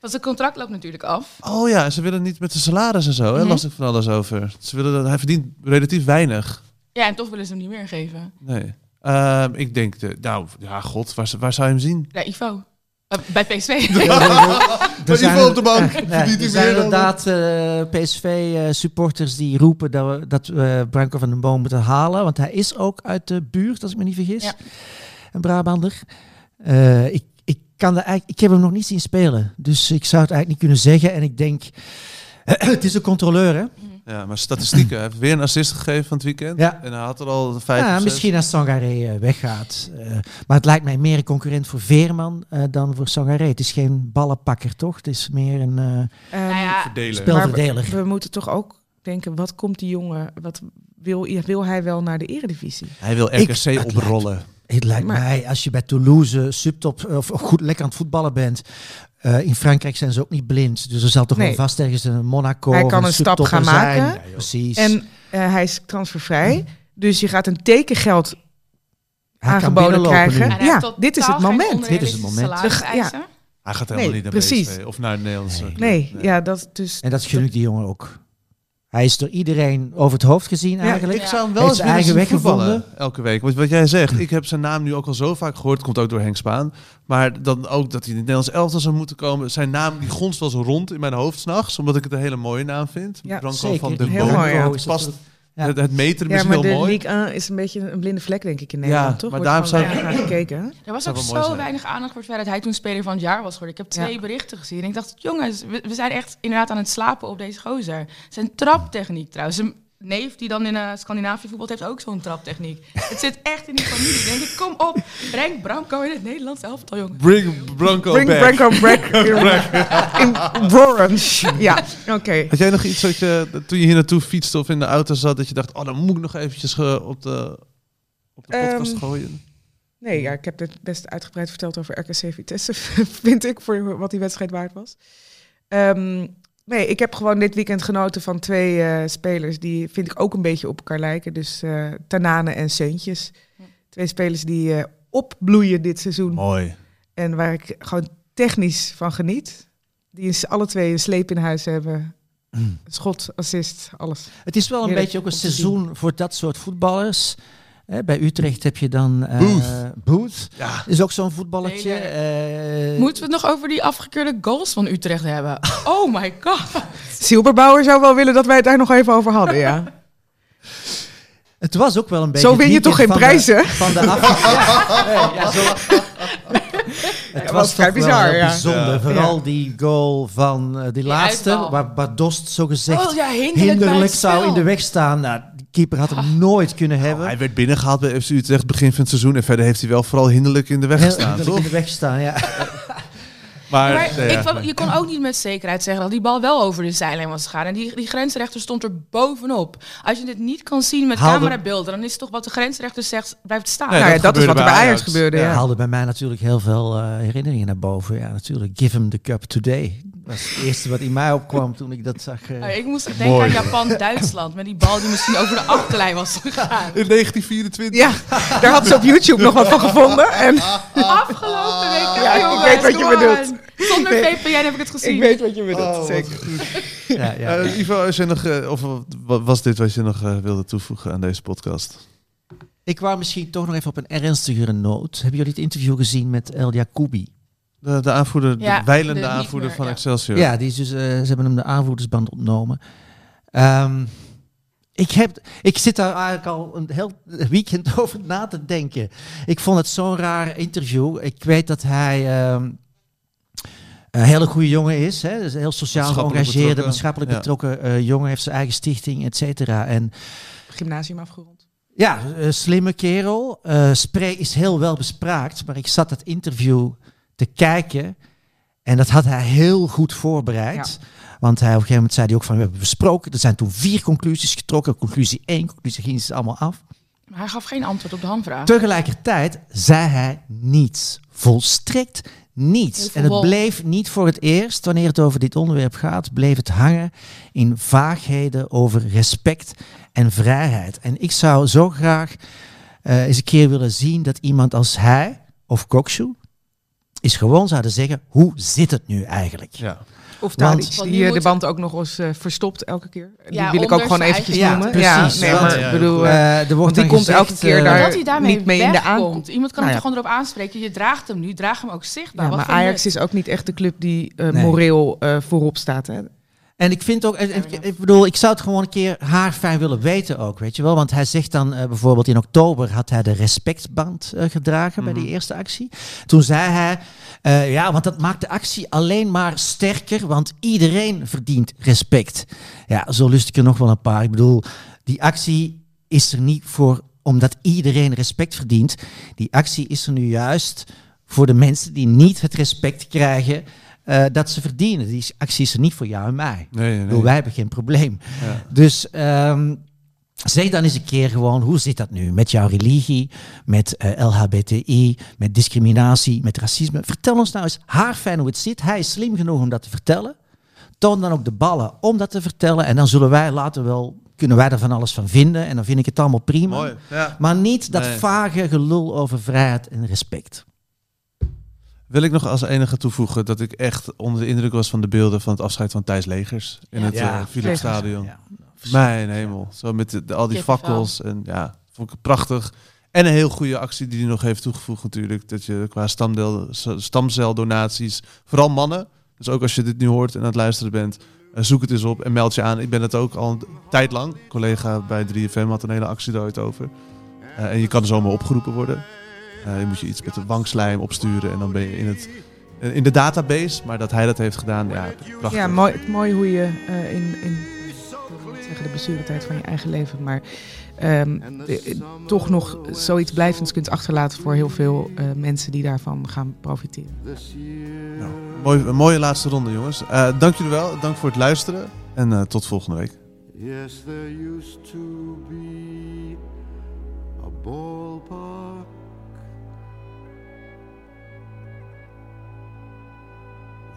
Speaker 2: Want zijn contract loopt natuurlijk af.
Speaker 5: Oh ja, ze willen niet met de salaris en zo. Hè?
Speaker 2: Mhm.
Speaker 5: Las ik van alles over. Ze willen dat, hij verdient relatief weinig.
Speaker 2: Ja, en toch willen ze hem niet meer geven.
Speaker 5: Nee. Ehm, ik denk, de, nou, ja, god, waar, waar zou je hem zien?
Speaker 2: Ja, Ivo. Eh, bij PSV.
Speaker 4: Er
Speaker 5: die
Speaker 4: zijn-
Speaker 5: valt op de bank.
Speaker 4: eh, nee,
Speaker 5: Verdient hij
Speaker 4: er zijn
Speaker 5: meer dan-
Speaker 4: inderdaad eh, PSV-supporters die roepen dat we, dat we Branko van den Boom moeten halen. Want hij is ook uit de buurt, als ik me niet vergis.
Speaker 2: Ja.
Speaker 4: Een Brabander. Eh, ik, ik, kan dat eigenlijk, ik heb hem nog niet zien spelen. Dus ik zou het eigenlijk niet kunnen zeggen. En ik denk... [clears throat] het is een controleur, hè?
Speaker 5: Ja, maar statistieken. Hij heeft weer een assist gegeven van het weekend.
Speaker 4: Ja.
Speaker 5: En hij had er al vijf of
Speaker 4: Ja,
Speaker 5: zes.
Speaker 4: misschien als Sangaré eh, weggaat. Eh, maar het lijkt mij meer een concurrent voor Veerman eh, dan voor Sangaré. Het is geen ballenpakker, toch? Het is meer een eh,
Speaker 3: Ehm,
Speaker 2: nou ja,
Speaker 5: Verdelen.
Speaker 3: maar we-
Speaker 4: spelverdeler.
Speaker 3: we, moeten toch ook denken, wat komt die jongen, wat wil, wil hij wel naar de eredivisie?
Speaker 5: Hij wil
Speaker 4: Ik-
Speaker 5: RKC oprollen.
Speaker 4: Het lijkt
Speaker 3: Maar-
Speaker 4: mij, als je bij Toulouse subtop eh, of goed lekker aan het voetballen bent. eh, in Frankrijk zijn ze ook niet blind. Dus er zal toch
Speaker 3: Nee.
Speaker 4: wel vast ergens een Monaco.
Speaker 3: Hij
Speaker 4: of
Speaker 3: kan een stap
Speaker 4: subtopper
Speaker 3: gaan
Speaker 4: zijn.
Speaker 3: maken.
Speaker 4: Precies.
Speaker 3: En eh, hij is transfervrij, dus je gaat een tekengeld
Speaker 4: Hij kan
Speaker 3: aangeboden
Speaker 4: binnenlopen
Speaker 3: krijgen.
Speaker 4: nu.
Speaker 3: Ja, dit is het moment.
Speaker 4: Dit is het moment.
Speaker 3: Ja.
Speaker 5: Hij gaat helemaal
Speaker 3: Nee,
Speaker 5: niet naar
Speaker 3: precies.
Speaker 5: PSV of naar het Nederlandse. club.
Speaker 3: Nee, ja, dat dus.
Speaker 4: En dat gelukt die jongen ook. Hij is door iedereen over het hoofd gezien eigenlijk.
Speaker 5: Ik zou hem
Speaker 4: Heeft
Speaker 5: wel eens
Speaker 4: zijn eigen
Speaker 5: willen zien
Speaker 4: weg
Speaker 5: voetballen.
Speaker 4: gevonden.
Speaker 5: Elke week. Want wat jij zegt, ik heb zijn naam nu ook al zo vaak gehoord. Komt ook door Henk Spaan. Maar dan ook dat hij in het Nederlands elftal zou moeten komen. Zijn naam die gonst wel zo rond in mijn hoofd s'nachts. Omdat ik het een hele mooie naam vind.
Speaker 3: Ja,
Speaker 5: Branco
Speaker 4: Zeker.
Speaker 5: van de
Speaker 4: Die
Speaker 3: Heel
Speaker 5: Boom.
Speaker 3: mooi, ja.
Speaker 4: Branco is
Speaker 5: Past-
Speaker 4: natuurlijk- Ja.
Speaker 5: Het, het metrum
Speaker 3: Ja,
Speaker 5: is
Speaker 3: maar
Speaker 5: heel
Speaker 3: de
Speaker 5: mooi.
Speaker 3: League 1 is een beetje een blinde vlek, denk ik, in Nederland, toch?
Speaker 5: maar
Speaker 3: Wordt
Speaker 5: daarom
Speaker 3: gewoon
Speaker 5: zou ik-
Speaker 3: weinig naar gekeken. hè?
Speaker 2: Er was
Speaker 5: Zou
Speaker 2: ook
Speaker 5: wel mooi
Speaker 2: zo
Speaker 5: zijn.
Speaker 2: weinig aandacht voor het feit dat hij toen speler van het jaar was geworden. Ik heb twee
Speaker 3: Ja.
Speaker 2: berichten gezien. En ik dacht, jongens, we, we zijn echt inderdaad aan het slapen op deze gozer. Zijn traptechniek trouwens. Zijn neef die dan in eh, Scandinavië voetbalt, heeft ook zo'n
Speaker 4: [laughs]
Speaker 2: traptechniek. het zit echt in die familie. Ik Denk ik, kom op, breng Branco in het Nederlands elftal, jongen.
Speaker 5: Bring Branco
Speaker 3: Bring
Speaker 5: back.
Speaker 3: Branko
Speaker 5: [laughs]
Speaker 3: back in Orange. Ja, oké.
Speaker 5: [laughs] Had jij nog iets dat je eh, toen je hier naartoe fietste of in de auto zat, dat je dacht, oh, dan moet ik nog eventjes eh, op de, op de podcast
Speaker 3: Ehm,
Speaker 5: gooien?
Speaker 3: Nee, ja, ik heb dit best uitgebreid verteld over RKC Vitesse, [laughs] vind ik, voor wat die wedstrijd waard was. Ehm, nee, ik heb gewoon dit weekend genoten van twee eh, spelers die vind ik ook een beetje op elkaar lijken. Dus eh Tanane en Seuntjes. Twee spelers die eh, opbloeien dit seizoen.
Speaker 5: Mooi.
Speaker 3: En waar ik gewoon technisch van geniet. Die is alle twee een sleep in huis hebben. Schot, assist, alles.
Speaker 4: Het is wel een
Speaker 3: Heerlijk
Speaker 4: beetje ook een
Speaker 3: om te
Speaker 4: seizoen voor dat soort voetballers. Hè, bij Utrecht heb je dan eh,
Speaker 5: Booth.
Speaker 4: Booth.
Speaker 5: Ja.
Speaker 4: Is ook zo'n voetballetje. eh,
Speaker 2: Moeten we het nog over die afgekeurde goals van Utrecht
Speaker 4: [laughs]
Speaker 2: hebben? Oh my god.
Speaker 3: Silberbouwer zou wel willen dat wij het daar nog even over hadden, ja.
Speaker 4: Het was ook wel een beetje.
Speaker 3: Zo win je
Speaker 4: het
Speaker 3: toch geen
Speaker 4: weekend
Speaker 3: prijzen?
Speaker 4: van de- Van de
Speaker 3: [laughs]
Speaker 4: af. Ja, nee, ja, zo- Het
Speaker 3: was
Speaker 4: was
Speaker 3: vrij
Speaker 4: toch
Speaker 3: bizar,
Speaker 4: wel heel
Speaker 3: ja.
Speaker 4: bijzonder.
Speaker 3: Ja.
Speaker 4: Vooral die goal van eh, die, laatste,
Speaker 2: uitbal.
Speaker 4: waar, waar Dost zo gezegd
Speaker 2: Oh ja, hinderlijk bij het
Speaker 4: hinderlijk zou
Speaker 2: spel. Ah.
Speaker 4: in de weg staan. Nou, de keeper had hem nooit kunnen hebben.
Speaker 3: Oh,
Speaker 5: Hij werd binnengehaald bij FC Utrecht begin van het seizoen. En verder heeft hij wel vooral hinderlijk in de weg
Speaker 4: Heel
Speaker 5: gestaan,
Speaker 4: hinderlijk in
Speaker 5: toch?
Speaker 4: de weg staan, ja.
Speaker 5: Maar,
Speaker 2: Maar
Speaker 5: nee, ja.
Speaker 2: ik, wou- je kon ook niet met zekerheid zeggen dat die bal wel over de zijlijn was gegaan. En die, die grensrechter stond er bovenop. Als je dit niet kan zien met
Speaker 4: Haalde-
Speaker 2: camerabeelden, dan is het toch wat de grensrechter zegt, blijft staan.
Speaker 5: Nee,
Speaker 3: nou ja,
Speaker 5: dat
Speaker 3: dat, is
Speaker 5: gebeurde
Speaker 3: wat er
Speaker 5: bij
Speaker 3: bij Ajax,
Speaker 5: Ajax.
Speaker 3: gebeurde, ja.
Speaker 4: Ja. haalde bij mij natuurlijk heel veel eh, herinneringen naar boven. Ja, natuurlijk. Give him the cup today. Dat was het eerste wat in mij opkwam toen ik dat zag. eh.
Speaker 2: Nou, ik moest denken aan Japan-Duitsland met die bal die misschien over de achterlijn was gegaan.
Speaker 5: In 1924.
Speaker 3: Ja, daar had ze op YouTube nog wat van gevonden. En
Speaker 2: Afgelopen week,
Speaker 3: Oh. Ja, ik
Speaker 2: jongens,
Speaker 3: weet wat je
Speaker 2: come on.
Speaker 3: bedoelt.
Speaker 2: Zonder
Speaker 3: Ik weet-
Speaker 2: VPN heb ik het gezien.
Speaker 3: ik weet wat je bedoelt,
Speaker 5: Oh, wat
Speaker 3: zeker.
Speaker 4: ja, ja, ja.
Speaker 5: Eh, Ivo, is er nog, eh, of wa- was dit wat je nog eh, wilde toevoegen aan deze podcast?
Speaker 4: Ik wou misschien toch nog even op een ernstigere noot. Hebben jullie het interview gezien met El Jacoubi?
Speaker 5: De, de aanvoerder,
Speaker 2: Ja,
Speaker 5: de weilende
Speaker 2: de- niet
Speaker 5: aanvoerder
Speaker 2: meer,
Speaker 5: van
Speaker 2: ja.
Speaker 5: Excelsior.
Speaker 4: Ja, die is dus, eh, ze hebben hem de aanvoerdersband ontnomen. Ehm, ik, heb, ik zit daar eigenlijk al een heel weekend [laughs] over na te denken. Ik vond het zo'n raar interview. Ik weet dat hij ehm, een hele goede jongen is. Hè? Dus een heel sociaal
Speaker 5: Maatschappelijk
Speaker 4: geëngageerde,
Speaker 5: betrokken.
Speaker 4: maatschappelijk
Speaker 5: Ja.
Speaker 4: betrokken eh, jongen. heeft zijn eigen stichting, et cetera. En
Speaker 3: Gymnasium afgerond.
Speaker 4: ja, eh, slimme kerel. Eh Spree is heel wel bespraakt, maar ik zat dat interview te kijken en dat had hij heel goed voorbereid. Want hij, op een gegeven moment zei hij ook van, we hebben besproken. Er zijn toen vier conclusies getrokken. Conclusie 1, conclusie gingen ze allemaal af.
Speaker 2: Maar hij gaf geen antwoord op de hamvraag.
Speaker 4: Tegelijkertijd zei hij niets. Volstrekt niets.
Speaker 2: Heel
Speaker 4: En het
Speaker 2: verwolkt.
Speaker 4: bleef niet voor het eerst, wanneer het over dit onderwerp gaat, bleef het hangen in vaagheden over respect en vrijheid. En ik zou zo graag eh, eens een keer willen zien dat iemand als hij of Kokshu is gewoon zouden zeggen, hoe zit het nu eigenlijk?
Speaker 5: Ja.
Speaker 3: Of
Speaker 4: Want-
Speaker 3: Tadic,
Speaker 2: Want
Speaker 3: die
Speaker 2: nu
Speaker 3: eh, de
Speaker 2: moet-
Speaker 3: band ook nog eens eh, verstopt elke keer. Die
Speaker 2: Ja,
Speaker 3: wil ik ook
Speaker 2: onder
Speaker 3: gewoon
Speaker 2: zijn
Speaker 3: eventjes
Speaker 4: eigen-
Speaker 3: noemen.
Speaker 4: Ja,
Speaker 3: Ja,
Speaker 4: precies.
Speaker 3: nee,
Speaker 5: Ja,
Speaker 3: maar
Speaker 5: ja,
Speaker 3: ik bedoel... eh,
Speaker 4: Eh, er wordt
Speaker 3: die
Speaker 4: dan
Speaker 3: komt
Speaker 4: gezegd,
Speaker 3: elke keer
Speaker 4: eh,
Speaker 3: daar-
Speaker 2: dat hij daarmee
Speaker 3: niet mee in de
Speaker 2: wegkomt.
Speaker 3: aankomt.
Speaker 2: Iemand kan
Speaker 4: Nou
Speaker 2: hem
Speaker 4: ja.
Speaker 2: toch gewoon erop aanspreken. Je draagt hem nu, draag hem ook zichtbaar.
Speaker 3: ja,
Speaker 2: Wat
Speaker 3: maar
Speaker 2: vind je
Speaker 3: Ajax
Speaker 2: het?
Speaker 3: is ook niet echt de club die eh,
Speaker 4: Nee.
Speaker 3: moreel eh, voorop staat. Hè?
Speaker 4: En ik vind ook, en- en- ik, bedoel, ik zou het gewoon een keer haar fijn willen weten ook, weet je wel. Want hij zegt dan eh, bijvoorbeeld in oktober had hij de respectband eh, gedragen bij die eerste actie. Toen zei hij, eh, ja, want dat maakt de actie alleen maar sterker, want iedereen verdient respect. Ja, zo lust ik er nog wel een paar. Ik bedoel, die actie is er niet voor omdat iedereen respect verdient. Die actie is er nu juist voor de mensen die niet het respect krijgen eh, dat ze verdienen. Die actie is er niet voor jou en mij.
Speaker 5: Nee, nee,
Speaker 4: Ik
Speaker 5: nee.
Speaker 4: bedoel, wij hebben geen probleem.
Speaker 5: Ja.
Speaker 4: Dus ehm, zeg dan eens een keer gewoon, hoe zit dat nu met jouw religie, met eh, LHBTI, met discriminatie, met racisme? Vertel ons nou eens haarfijn hoe het zit. Hij is slim genoeg om dat te vertellen. Toon dan ook de ballen om dat te vertellen. En dan zullen wij later wel, kunnen wij er van alles van vinden. En dan vind ik het allemaal prima.
Speaker 5: Mooi. Ja.
Speaker 4: Maar niet dat
Speaker 5: Nee.
Speaker 4: vage gelul over vrijheid en respect.
Speaker 5: Wil ik nog als enige toevoegen dat ik echt onder de indruk was van de beelden van het afscheid van Thijs Legers in
Speaker 2: Ja.
Speaker 5: het
Speaker 4: Ja.
Speaker 5: eh, Philips Stadion.
Speaker 4: Ja.
Speaker 5: Mijn hemel. Zo met de, de- al die
Speaker 2: Kippenvel.
Speaker 5: fakkels. En ja, vond ik het prachtig. En een heel goede actie die hij nog heeft toegevoegd natuurlijk. Dat je qua stamdeel, s- stamceldonaties, vooral mannen. Dus ook als je dit nu hoort en aan het luisteren bent, eh, zoek het eens op en meld je aan. Ik ben het ook al een tijd lang. Een collega bij 3FM had een hele actie daar ooit over. Eh, en je kan zomaar opgeroepen worden. Eh, je moet je iets met de wangslijm opsturen en dan ben je in, het, eh, in de database. Maar dat hij dat heeft gedaan, ja, prachtig.
Speaker 3: Ja, mooi, het mooi hoe je eh, in, in ik wil niet zeggen de blessuretijd van je eigen leven, maar ehm, eh, toch nog zoiets blijvends kunt achterlaten voor heel veel eh, mensen die daarvan gaan profiteren.
Speaker 6: Dus
Speaker 5: Nou, mooi, een mooie laatste ronde, jongens. Eh, dank jullie wel. Dank voor het luisteren. En eh, tot volgende week.
Speaker 6: Yes, there used to be a ballpark